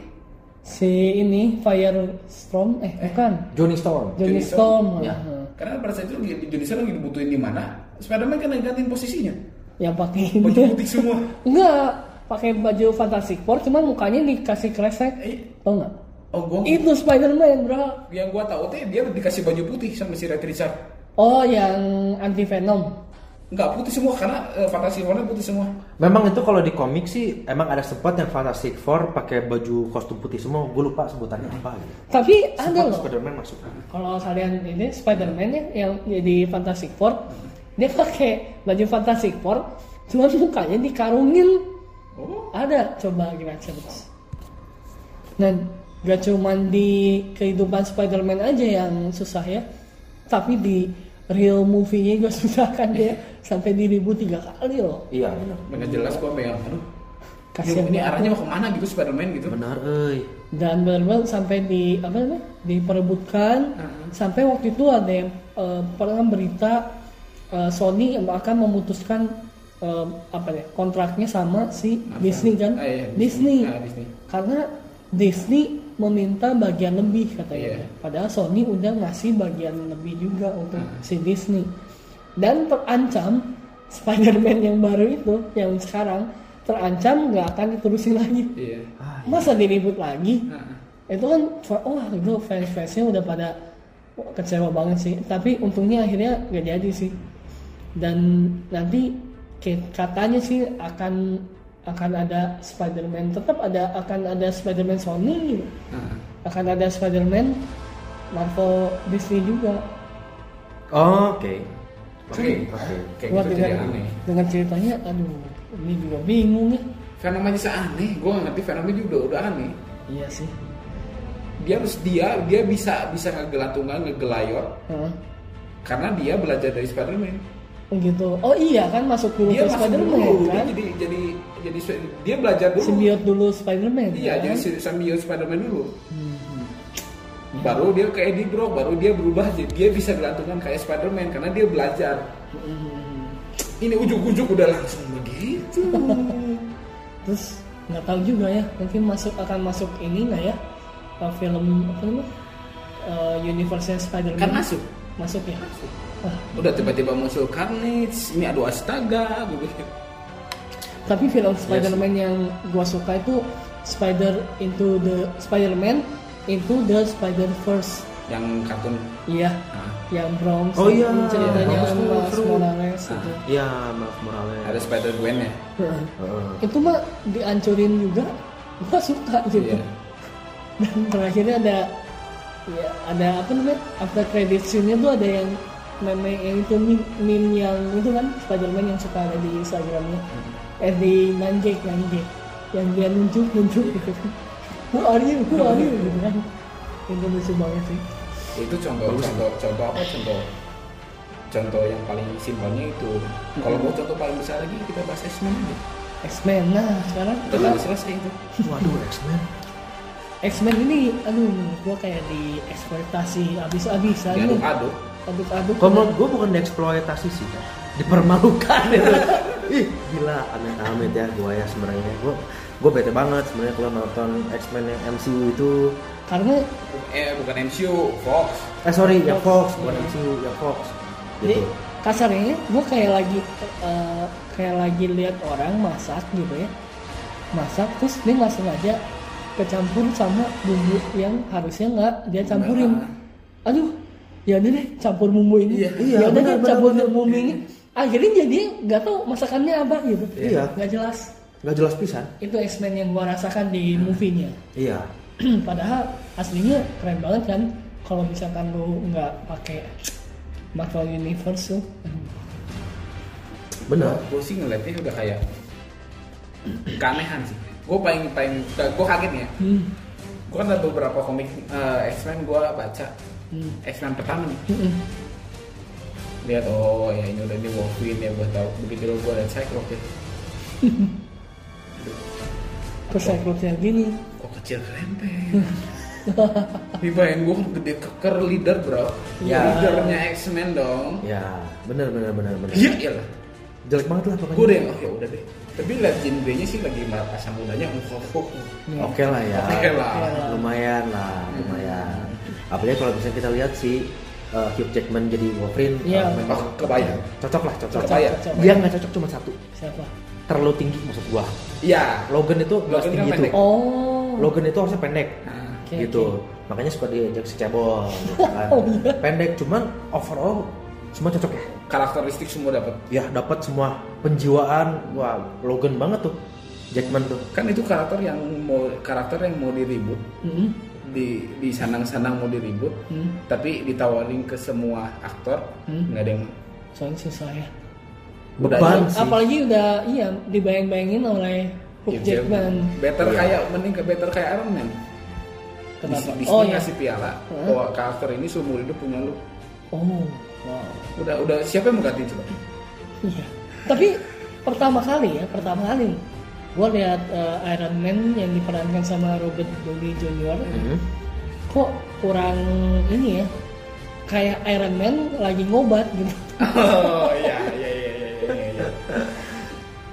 Speaker 1: Si ini Firestorm eh, bukan.
Speaker 3: Johnny Storm.
Speaker 1: Johnny
Speaker 4: Johnny
Speaker 1: Storm.
Speaker 3: Storm. Ya.
Speaker 1: Heeh.
Speaker 4: karena pada saat itu di Indonesia lagi dibutuhin di mana Spider-Man kan ngegantiin posisinya
Speaker 1: Yang pakai ini.
Speaker 4: baju putih semua
Speaker 1: Enggak, pakai baju Fantastic Four cuman mukanya dikasih kresek.
Speaker 4: Eh,
Speaker 1: Tau enggak?
Speaker 4: oh gua
Speaker 1: Itu Spider-Man, Bro.
Speaker 4: yang gua tahu teh dia dikasih baju putih sama si Red Richard
Speaker 1: Oh, yang anti Venom.
Speaker 4: nggak putih semua karena eh, fantasi warna putih semua
Speaker 3: Memang itu kalau di komik sih emang ada sempat yang Fantastic Four pakai baju kostum putih semua, gue lupa sebutannya apa gitu.
Speaker 1: Tapi ada
Speaker 3: Sempat
Speaker 1: loh.
Speaker 3: Spider-Man masuk.
Speaker 1: Kalau kalian ini Spider-Man ya yang jadi Fantastic Four, dia pakai baju Fantastic Four, cuman mukanya dikarungin.
Speaker 4: oh
Speaker 1: Ada coba gimana coba. Dan gak cuman di kehidupan Spider-Man aja yang susah ya, tapi di real movie-nya juga susah kan dia sampai diribut tiga kali loh.
Speaker 3: Iya, benar.
Speaker 4: nggak jelas gua megang aduh
Speaker 1: Kasian
Speaker 4: ini
Speaker 1: banget.
Speaker 4: arahnya mau kemana gitu Spider-Man gitu
Speaker 3: Benar, euy.
Speaker 1: dan benar-benar sampai di apa namanya diperebutkan
Speaker 4: Uh-huh.
Speaker 1: sampai waktu itu ada yang eh, pernah berita eh, Sony akan memutuskan eh, apa ya kontraknya sama si
Speaker 4: Marvel.
Speaker 1: Disney kan
Speaker 4: Ah, iya,
Speaker 1: Disney,
Speaker 4: Ah, Disney.
Speaker 1: karena Disney meminta bagian lebih katanya
Speaker 4: Iya.
Speaker 1: padahal Sony udah ngasih bagian lebih juga untuk
Speaker 4: Ah.
Speaker 1: si Disney dan terancam Spider-Man yang baru itu yang sekarang terancam nggak akan diterusin lagi
Speaker 4: iya
Speaker 1: masa diribut lagi
Speaker 4: Ah.
Speaker 1: itu kan wah itu fans fansnya udah pada wah, kecewa banget sih tapi untungnya akhirnya gak jadi sih dan nanti ke- katanya sih akan akan ada Spider-Man tetap ada akan ada Spider-Man Sony
Speaker 4: Ah.
Speaker 1: akan ada Spider-Man Marvel Disney juga
Speaker 3: Oh, oke.
Speaker 4: Oke,
Speaker 3: Oke.
Speaker 4: kayak
Speaker 1: Wah,
Speaker 4: gitu jadi
Speaker 1: dengan,
Speaker 4: aneh.
Speaker 1: dengan ceritanya aduh ini juga bingung ya
Speaker 4: Venom aja aneh, gue nggak ngerti Venom itu udah udah aneh.
Speaker 1: iya sih
Speaker 4: Dia harus dia dia bisa bisa ngegelatungan ngegelayor
Speaker 1: Heeh.
Speaker 4: karena dia belajar dari Spider-Man.
Speaker 1: gitu oh iya kan masuk dulu
Speaker 4: Dia
Speaker 1: ke
Speaker 4: masuk
Speaker 1: Spider-Man
Speaker 4: dulu, dia
Speaker 1: kan
Speaker 4: jadi jadi jadi dia belajar dulu.
Speaker 1: simbiot dulu Spider-Man
Speaker 4: Iya,
Speaker 1: kan?
Speaker 4: jadi si- symbiote Spider-Man dulu.
Speaker 1: Hmm.
Speaker 4: Baru dia ke Eddie Brock, baru dia berubah jadi dia bisa gelantungan kayak Spider-Man karena dia belajar.
Speaker 1: Hmm.
Speaker 4: Ini ujuk-ujuk udah langsung begitu.
Speaker 1: terus nggak tahu juga ya mungkin masuk akan masuk ini nggak ya eh, film apa namanya Eh, universe Spider-Man
Speaker 4: Kan masuk.
Speaker 1: masuk ya Wah,
Speaker 4: udah tiba-tiba muncul Carnage, ini aduh astaga, gue bilang.
Speaker 1: tapi film Spider-Man yang gua suka itu Spider into the Spider-Man into the Spider-Verse
Speaker 4: yang kartun
Speaker 1: iya
Speaker 4: Nah,
Speaker 1: yang Bronx
Speaker 3: Ah. Oh iya,
Speaker 1: ceritanya
Speaker 3: Bronx
Speaker 1: sama
Speaker 3: seru, seru.
Speaker 1: Morales itu
Speaker 3: Iya, Miles Morales.
Speaker 4: ada Spider Gwen ya
Speaker 1: Heeh.
Speaker 3: Heeh.
Speaker 1: itu mah dihancurin juga gua suka gitu
Speaker 4: Iya.
Speaker 1: dan terakhirnya ada ya ada apa namanya after credit scene-nya tuh ada yang meme yang itu meme, meme yang itu kan Spiderman yang suka ada di Instagramnya
Speaker 4: Hmm.
Speaker 1: eh di Nanjek Nanjek yang dia nunjuk nunjuk gitu kan who are you who are you gitu kan itu lucu banget sih
Speaker 4: itu contoh contoh contoh apa contoh contoh yang paling simpelnya itu kalau mau contoh paling besar lagi kita bahas X-Men aja
Speaker 1: X-Men nah sekarang
Speaker 4: itu kan udah selesai itu
Speaker 3: Waduh, X-Men.
Speaker 1: X-Men ini aduh gua kayak di eksploitasi abis-abisan
Speaker 4: diaduk aduk
Speaker 1: aduk-aduk
Speaker 3: Kalau menurut gue bukan dieksploitasi sih, kan. dipermalukan itu ih gila amit-amit ya gua ya sebenarnya gua gua bete banget sebenarnya kalau nonton X-Men yang MCU itu
Speaker 1: karena
Speaker 4: eh bukan MCU Fox
Speaker 3: eh sorry ya Fox bukan MCU ya Fox
Speaker 1: jadi
Speaker 3: gitu
Speaker 1: kasarnya gue kayak lagi eh, kayak lagi lihat orang masak gitu ya masak terus dia nggak sengaja kecampur sama bumbu yang harusnya nggak dia campurin aduh ya udah deh campur bumbu ini
Speaker 3: Nah. Iya, iya,
Speaker 1: ya udah deh
Speaker 3: benar, benar,
Speaker 1: campur
Speaker 3: benar.
Speaker 1: bumbu ini akhirnya jadi nggak tahu masakannya apa gitu
Speaker 3: Iya.
Speaker 1: nggak jelas
Speaker 3: nggak jelas pisan
Speaker 1: itu X-Men yang gua rasakan di movie-nya
Speaker 3: iya
Speaker 1: padahal aslinya keren banget kan kalau misalkan lu nggak pakai Marvel Universe tuh
Speaker 3: benar
Speaker 4: gue sih ngeliatnya udah kayak keanehan sih gue paling paling gue kaget nih ya
Speaker 1: hmm.
Speaker 4: gue kan ada beberapa komik eh, X-Men gue baca
Speaker 1: Hmm.
Speaker 4: X-Men pertama nih
Speaker 1: Mm-mm.
Speaker 4: lihat oh ya ini udah ini Wolverine ya gue tahu begitu gue lihat Cyclops ya
Speaker 1: terus rekrutnya gini
Speaker 4: kok "Oh, kecil kerempeng Dibayangin gue gede keker leader bro
Speaker 3: Ya.
Speaker 4: Leadernya X-Men dong
Speaker 3: ya benar benar benar benar
Speaker 4: Iya iyalah
Speaker 3: jelek banget lah pokoknya
Speaker 4: Gue udah yang oh ya udah deh Tapi liat genre-nya sih lagi merasa mudanya Ungkok
Speaker 1: Nih.
Speaker 3: oke lah ya
Speaker 4: Oke lah
Speaker 3: lumayan lah lumayan apalagi kalau misalnya kita lihat si eh, Hugh Jackman jadi Wolverine
Speaker 1: Iya.
Speaker 3: eh, memang
Speaker 4: Oh, kebayang
Speaker 3: cocok lah cocok
Speaker 4: Kebayang.
Speaker 1: Cocok.
Speaker 3: dia nggak cocok cuma satu
Speaker 1: siapa
Speaker 3: terlalu tinggi maksud gua
Speaker 4: Iya
Speaker 3: Logan itu nggak
Speaker 4: Logan
Speaker 3: tinggi
Speaker 4: kan
Speaker 3: itu
Speaker 4: pendek.
Speaker 1: oh
Speaker 3: Logan itu harusnya pendek
Speaker 4: Nah,
Speaker 1: Oke,
Speaker 3: gitu
Speaker 1: oke.
Speaker 3: makanya suka diajak si cebol gitu kan.
Speaker 1: Oh, iya.
Speaker 3: pendek cuman overall semua cocok ya
Speaker 4: Karakteristik semua dapat
Speaker 3: ya dapat semua penjiwaan wah Logan banget tuh Jackman tuh
Speaker 4: Kan itu karakter yang mau karakter yang mau diribut
Speaker 1: Mm-mm.
Speaker 4: di di sanang-sanang mau diribut
Speaker 1: Mm.
Speaker 4: tapi ditawarin ke semua aktor
Speaker 1: Hmm.
Speaker 4: nggak ada yang
Speaker 1: soalnya susah ya
Speaker 4: Udah
Speaker 3: beban sih
Speaker 1: apalagi udah iya dibayang-bayangin oleh Hugh
Speaker 4: Hugh Jackman.
Speaker 1: Jackman
Speaker 4: better
Speaker 3: Iya.
Speaker 4: kayak mending ke better kayak Iron Man
Speaker 1: kenapa
Speaker 4: Disney
Speaker 1: oh
Speaker 4: oh,
Speaker 1: ya
Speaker 4: ngasih piala
Speaker 1: Heeh.
Speaker 4: bahwa karakter ini seumur hidup punya lu
Speaker 1: oh wow
Speaker 4: udah udah siapa yang mau ganti coba
Speaker 1: Iya. Tapi pertama kali ya, pertama kali gue lihat eh, Iron Man yang diperankan sama Robert Downey Jr.
Speaker 3: Hmm.
Speaker 1: kok kurang ini ya, kayak Iron Man lagi ngobat gitu.
Speaker 4: oh iya iya iya iya iya, iya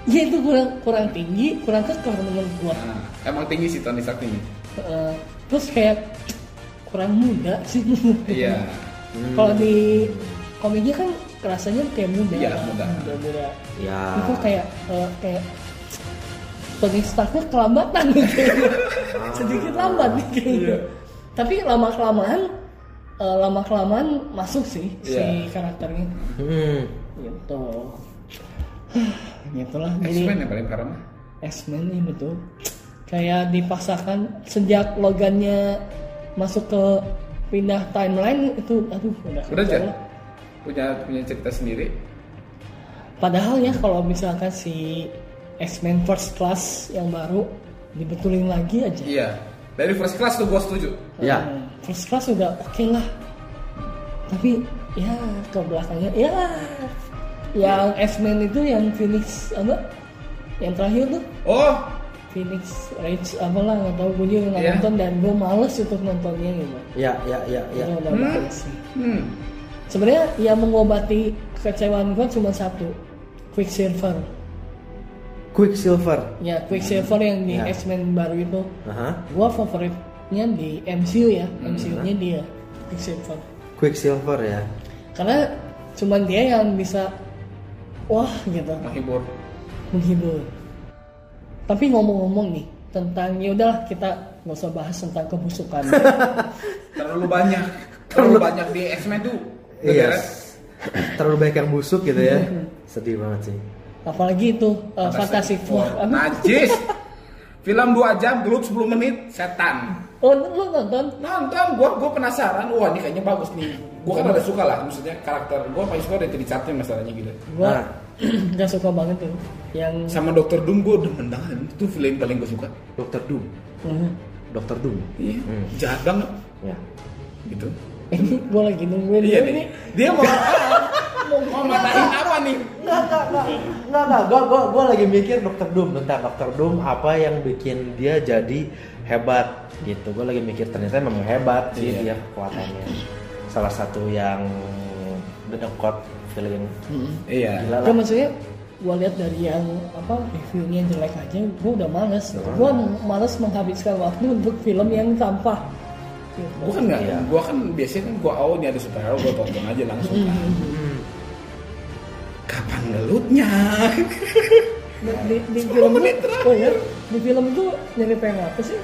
Speaker 1: Ya itu kurang kurang tinggi, kurang kekar menurut gue.
Speaker 4: Nah, emang tinggi sih Tony Stark ini
Speaker 1: Eh, terus kayak kurang muda sih.
Speaker 4: iya
Speaker 1: Kalau di komiknya kan rasanya kayak muda.
Speaker 4: Iya, muda. Ah.
Speaker 1: muda.
Speaker 3: ya
Speaker 1: Itu kayak eh, kayak Tony Starknya kelambatan gitu. sedikit lambat
Speaker 4: Ah.
Speaker 1: nih
Speaker 4: Iya.
Speaker 1: kayaknya. Tapi lama kelamaan, lama kelamaan masuk sih
Speaker 4: Iya.
Speaker 1: si karakternya.
Speaker 3: Hmm.
Speaker 1: Gitu. Gitulah.
Speaker 4: X-Men ya?
Speaker 1: Jadi
Speaker 4: yang paling parah mah
Speaker 1: X-Men ini betul. Kayak dipaksakan sejak logannya masuk ke pindah timeline itu aduh udah
Speaker 4: udah
Speaker 1: kacau
Speaker 4: Jan
Speaker 1: lah.
Speaker 4: punya punya cerita sendiri
Speaker 1: Padahal ya kalau misalkan si X-Men First Class yang baru dibetulin lagi aja.
Speaker 4: iya dari first class tuh gue setuju
Speaker 3: ya
Speaker 1: Hmm, First class udah oke lah. Tapi ya ke belakangnya ya yang X-Men itu yang Phoenix apa? Yang terakhir tuh
Speaker 4: oh
Speaker 1: Phoenix Rage apa lah nggak tahu gue juga nggak
Speaker 4: Iya.
Speaker 1: nonton dan gue males untuk nontonnya gitu.
Speaker 3: ya ya ya ya
Speaker 1: Itu udah
Speaker 4: Hmm.
Speaker 1: males sih.
Speaker 4: hmm
Speaker 1: Sebenarnya yang mengobati kekecewaan gue cuma satu, Quicksilver.
Speaker 3: Quicksilver
Speaker 1: Ya Quicksilver yang di
Speaker 4: Hmm.
Speaker 3: Ya.
Speaker 1: X-Men baru itu,
Speaker 3: Aha.
Speaker 1: gue favoritnya di MCU ya,
Speaker 4: Hmm.
Speaker 1: MCU-nya dia Quicksilver.
Speaker 3: Quicksilver ya
Speaker 1: karena cuman dia yang bisa wah gitu
Speaker 4: menghibur
Speaker 1: menghibur tapi ngomong-ngomong nih tentang ya udahlah kita nggak usah bahas tentang kebusukan
Speaker 4: terlalu banyak terlalu banyak di X-Men tuh
Speaker 3: iya
Speaker 4: Beneran.
Speaker 3: terlalu banyak yang busuk gitu ya sedih banget sih
Speaker 1: apalagi itu uh, Fantastic
Speaker 4: Fantastic
Speaker 1: Four
Speaker 4: Four.
Speaker 1: Apa?
Speaker 4: Najis. Film 2 jam, grup 10 menit, setan.
Speaker 1: oh lu nonton
Speaker 4: Nonton, gua gua penasaran. Wah, ini kayaknya bagus nih. Gua kan ada suka lah, maksudnya karakter gua paling suka dari Richardnya masalahnya gitu.
Speaker 1: gua
Speaker 3: Ah.
Speaker 1: nggak suka banget tuh yang
Speaker 4: Sama Dr. Doom gua demen banget. Itu film paling gua suka.
Speaker 3: Dokter Doom
Speaker 1: Hmm.
Speaker 3: Dokter Doom
Speaker 4: Iya.
Speaker 3: Hmm.
Speaker 4: Jahat banget
Speaker 3: ya
Speaker 4: gitu.
Speaker 1: ini gua lagi nungguin
Speaker 4: Iya
Speaker 1: ini
Speaker 4: nih. Dia mau mau matahin apa nih?
Speaker 3: Nggak, nggak, nggak. Nggak, nggak. Gua, gua, gua lagi mikir Dr. Doom. Bentar, Dr. Doom apa yang bikin dia jadi hebat gitu. Gua lagi mikir ternyata memang hebat sih
Speaker 4: Iya.
Speaker 3: dia kekuatannya. Salah satu yang beda kuat feeling
Speaker 1: Mm-mm.
Speaker 4: Iya.
Speaker 3: gila
Speaker 1: Ya
Speaker 3: lah
Speaker 1: maksudnya gue lihat dari yang apa reviewnya jelek aja, gue udah males. Gue males menghabiskan waktu untuk film yang sampah. Gitu.
Speaker 4: Gue kan nggak,
Speaker 3: Iya.
Speaker 4: gue kan biasanya kan gue awal nih ada superhero gue tonton aja langsung. kan. Kapan ngelutnya?
Speaker 1: Di, di- di
Speaker 4: 10
Speaker 1: film tuh,
Speaker 4: menit terakhir.
Speaker 1: oh ya, di film tuh nyari pengen apa sih?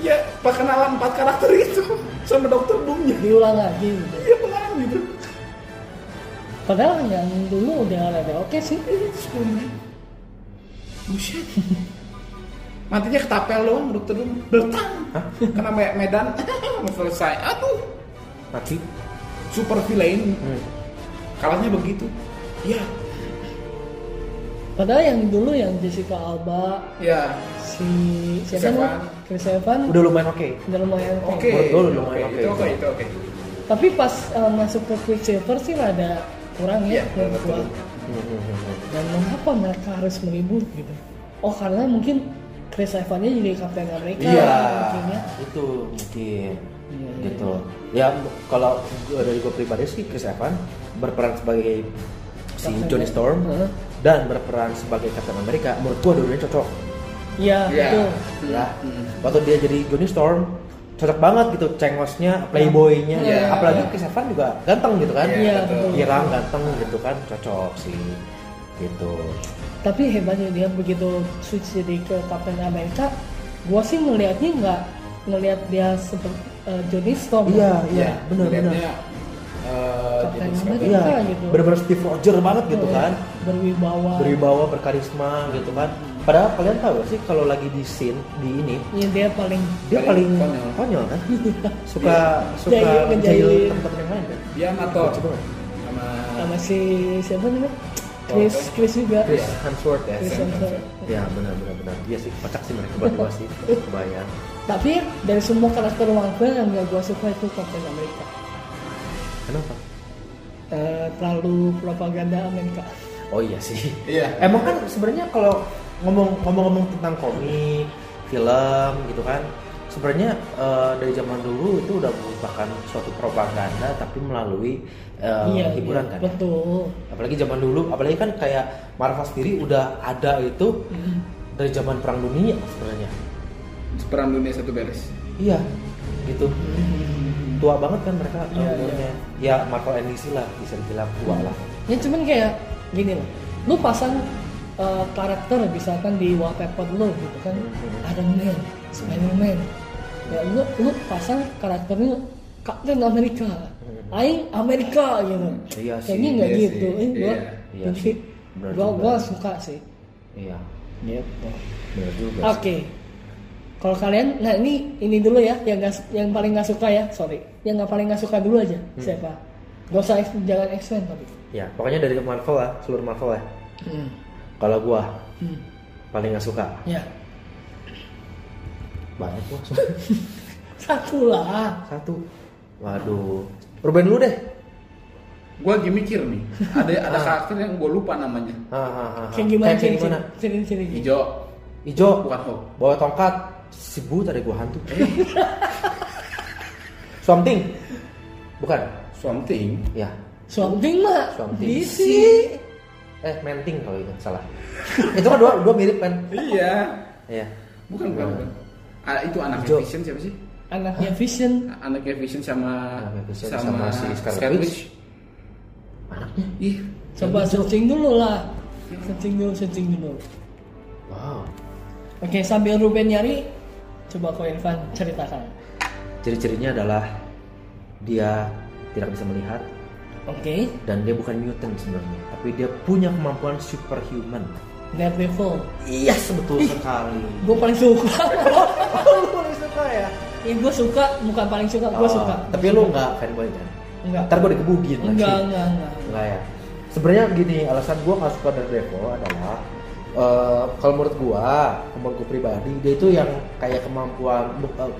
Speaker 4: ya perkenalan empat karakter itu sama dokter Doomnya.
Speaker 1: Diulang lagi. Gitu.
Speaker 4: Iya pelan gitu.
Speaker 1: Padahal yang dulu udah rada oke sih.
Speaker 4: Sepuluh menit. Buset. Matinya ketapel doang dokter Doom. Beltang.
Speaker 3: Hah?
Speaker 4: Kena me- medan. Mau selesai. Aduh.
Speaker 3: mati
Speaker 4: Super villain.
Speaker 3: Hmm.
Speaker 4: Kalahnya begitu. Iya.
Speaker 1: Padahal yang dulu yang Jessica Alba,
Speaker 4: Iya.
Speaker 1: si
Speaker 4: Chris
Speaker 1: siapa?
Speaker 4: Evans.
Speaker 1: Chris Evans
Speaker 3: udah lumayan oke
Speaker 1: udah lumayan oke.
Speaker 4: Oke.
Speaker 3: Menurut gua lumayan
Speaker 4: Oke,
Speaker 3: oke
Speaker 4: Itu
Speaker 3: itu.
Speaker 4: oke. Itu oke.
Speaker 1: Tapi pas eh, masuk ke Quicksilver sih rada kurang ya
Speaker 4: Iya,
Speaker 1: menurut gua.
Speaker 4: betul.
Speaker 1: Dan mengapa mereka harus menghibur gitu? Oh karena mungkin Chris Evans-nya jadi Kapten Amerika
Speaker 3: Iya,
Speaker 1: mungkin ya.
Speaker 3: itu mungkin
Speaker 1: Iya, iya.
Speaker 3: gitu. Ya kalau gua- dari gue pribadi sih Chris Evans berperan sebagai si
Speaker 1: Captain
Speaker 3: Johnny Storm
Speaker 1: Heeh.
Speaker 3: dan berperan sebagai Captain America menurut gue dua-duanya cocok.
Speaker 1: Iya,
Speaker 4: Iya.
Speaker 1: betul.
Speaker 3: Ya.
Speaker 4: hmm.
Speaker 3: Waktu dia jadi Johnny Storm cocok banget gitu cengosnya, playboy-nya.
Speaker 4: Iya.
Speaker 3: Apalagi Chris Evans juga ganteng gitu kan.
Speaker 1: Iya,
Speaker 4: betul.
Speaker 1: betul.
Speaker 3: Girang ganteng gitu kan cocok sih gitu.
Speaker 1: Tapi hebatnya dia begitu switch jadi ke Kapten Amerika, gua sih ngelihatnya nggak ngelihat dia seperti eh, Johnny Storm.
Speaker 3: Iya, iya,
Speaker 4: Iya,
Speaker 3: benar-benar.
Speaker 4: Lihatnya, eh,
Speaker 1: Captain
Speaker 4: jadi
Speaker 1: America.
Speaker 4: seperti-
Speaker 3: Iya,
Speaker 1: gitu.
Speaker 3: benar-benar Steve Roger banget gitu
Speaker 1: Iya,
Speaker 3: kan.
Speaker 1: Berwibawa.
Speaker 3: berwibawa berkarisma gitu kan padahal kalian tahu gak sih kalau lagi di scene di ini
Speaker 1: Iya, dia paling
Speaker 3: dia
Speaker 4: Paling
Speaker 3: paling
Speaker 4: konyol.
Speaker 3: konyol, kan suka suka
Speaker 1: Jahil- Iya,
Speaker 3: ngejahil
Speaker 1: ngejahilin.
Speaker 3: teman-teman yang lain kan
Speaker 4: Dia amator.
Speaker 3: Lucu banget.
Speaker 4: Sama
Speaker 1: sama si siapa namanya? Chris, Chris juga.
Speaker 3: Oh. Chris Hemsworth ya
Speaker 1: Chris
Speaker 3: Sam.
Speaker 1: Hemsworth.
Speaker 3: ya benar benar benar dia sih kocak sih mereka berdua sih kebayang
Speaker 1: Tapi dari semua karakter Marvel yang gak gue suka itu Captain America.
Speaker 3: kenapa
Speaker 1: Eh, terlalu propaganda Amerika.
Speaker 3: oh iya sih
Speaker 4: Iya.
Speaker 3: emang kan sebenarnya kalau ngomong ngomong ngomong tentang komik film gitu kan sebenarnya eh, dari zaman dulu itu udah merupakan suatu propaganda tapi melalui eh,
Speaker 1: Iya,
Speaker 3: hiburan kan ya?
Speaker 1: Betul.
Speaker 3: apalagi zaman dulu apalagi kan kayak Marvel sendiri udah ada itu dari zaman perang dunia sebenarnya
Speaker 4: Perang Dunia satu beres.
Speaker 3: iya gitu tua banget kan mereka
Speaker 1: Iya,
Speaker 3: umurnya ya Marvel NDC lah bisa dibilang tua lah
Speaker 1: Ya cuman kayak gini loh. Lu pasang eh, karakter misalkan di wallpaper lu gitu kan. Iron Man, Spider-Man. Ya lu lu pasang karakternya Captain America. Aing Amerika gitu.
Speaker 3: Iya sih,
Speaker 1: Kayaknya nggak
Speaker 4: iya
Speaker 1: gitu.
Speaker 4: sih,
Speaker 1: Eh, gua,
Speaker 4: iya,
Speaker 3: iya
Speaker 1: jadi
Speaker 3: sih. Benar
Speaker 1: gua,
Speaker 3: juga.
Speaker 1: gua suka sih.
Speaker 3: iya
Speaker 1: Gitu.
Speaker 3: benar juga
Speaker 1: Oke. Kalau kalian, nah ini ini dulu ya, yang nggak yang paling nggak suka ya, sorry, yang nggak paling nggak suka dulu aja
Speaker 3: Hmm.
Speaker 1: siapa? Gak usah X- jangan X-Men tapi.
Speaker 3: ya pokoknya dari Marvel lah seluruh Marvel lah
Speaker 1: Hmm.
Speaker 3: kalau gua paling nggak suka
Speaker 1: Ya
Speaker 3: banyak gua
Speaker 1: satu lah.
Speaker 3: satu waduh Ruben lu deh
Speaker 4: Gue lagi mikir nih, ada ada karakter yang gue lupa namanya.
Speaker 3: Hahaha.
Speaker 1: Kayak gimana?
Speaker 3: kayak
Speaker 1: Ciri
Speaker 3: gimana
Speaker 1: ciri ciri. ciri.
Speaker 4: Hijau,
Speaker 3: Ijo
Speaker 4: bukan Hulk.
Speaker 3: bawa tongkat sebut ada gua hantu something bukan
Speaker 4: Something.
Speaker 3: ya
Speaker 1: Something mah.
Speaker 3: Something.
Speaker 1: DC.
Speaker 3: eh menting kalau itu salah itu kan dua dua mirip kan
Speaker 4: Iya.
Speaker 3: ya
Speaker 4: Bukan bukan. bukan. Ah, itu anaknya
Speaker 3: Hijau.
Speaker 4: Vision siapa sih?
Speaker 1: Anaknya Vision.
Speaker 4: Anaknya Vision sama
Speaker 3: Anaknya Vision sama si Scarlet Witch. anaknya
Speaker 4: Ih,
Speaker 1: Coba searching dulu lah. Searching dulu, searching dulu.
Speaker 3: wow
Speaker 1: Oke, sambil Ruben nyari, coba kau Irfan ceritakan.
Speaker 3: ciri-cirinya adalah dia tidak bisa melihat
Speaker 1: Oke,
Speaker 3: dan dia bukan mutant sebenarnya tapi dia punya kemampuan superhuman
Speaker 1: Daredevil.
Speaker 3: iya betul sekali
Speaker 1: Gue paling suka.
Speaker 3: lu suka ya
Speaker 1: Ya gue suka, bukan paling suka, gue suka.
Speaker 3: Oh, tapi lu nggak fanboy kan
Speaker 1: Enggak.
Speaker 3: ntar gua dikebugin lagi
Speaker 1: Enggak, enggak, enggak.
Speaker 3: Enggak ya. Sebenarnya gini, alasan gua nggak suka Daredevil adalah eh, kalau menurut gua, menurut gua pribadi dia itu yang kayak kemampuan bu- eh,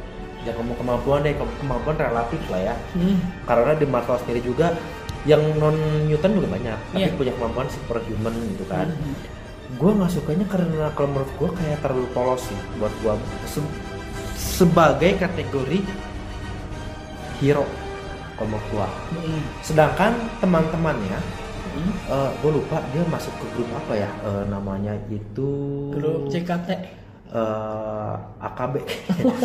Speaker 3: jangan ngomong kemampuan deh, ke- kemampuan relatif lah ya.
Speaker 1: Hmm.
Speaker 3: Karena di Marvel sendiri juga yang non Newton juga banyak, tapi
Speaker 1: Iya. Hmm.
Speaker 3: punya kemampuan superhuman gitu kan. Gua nggak sukanya karena kalau menurut gua kayak terlalu polos sih buat gua Se- sebagai kategori hero Homeward keluar sedangkan teman-temannya
Speaker 1: Hmm.
Speaker 3: gue lupa dia masuk ke grup apa ya eh, namanya itu
Speaker 1: grup CKT
Speaker 3: eh, AKB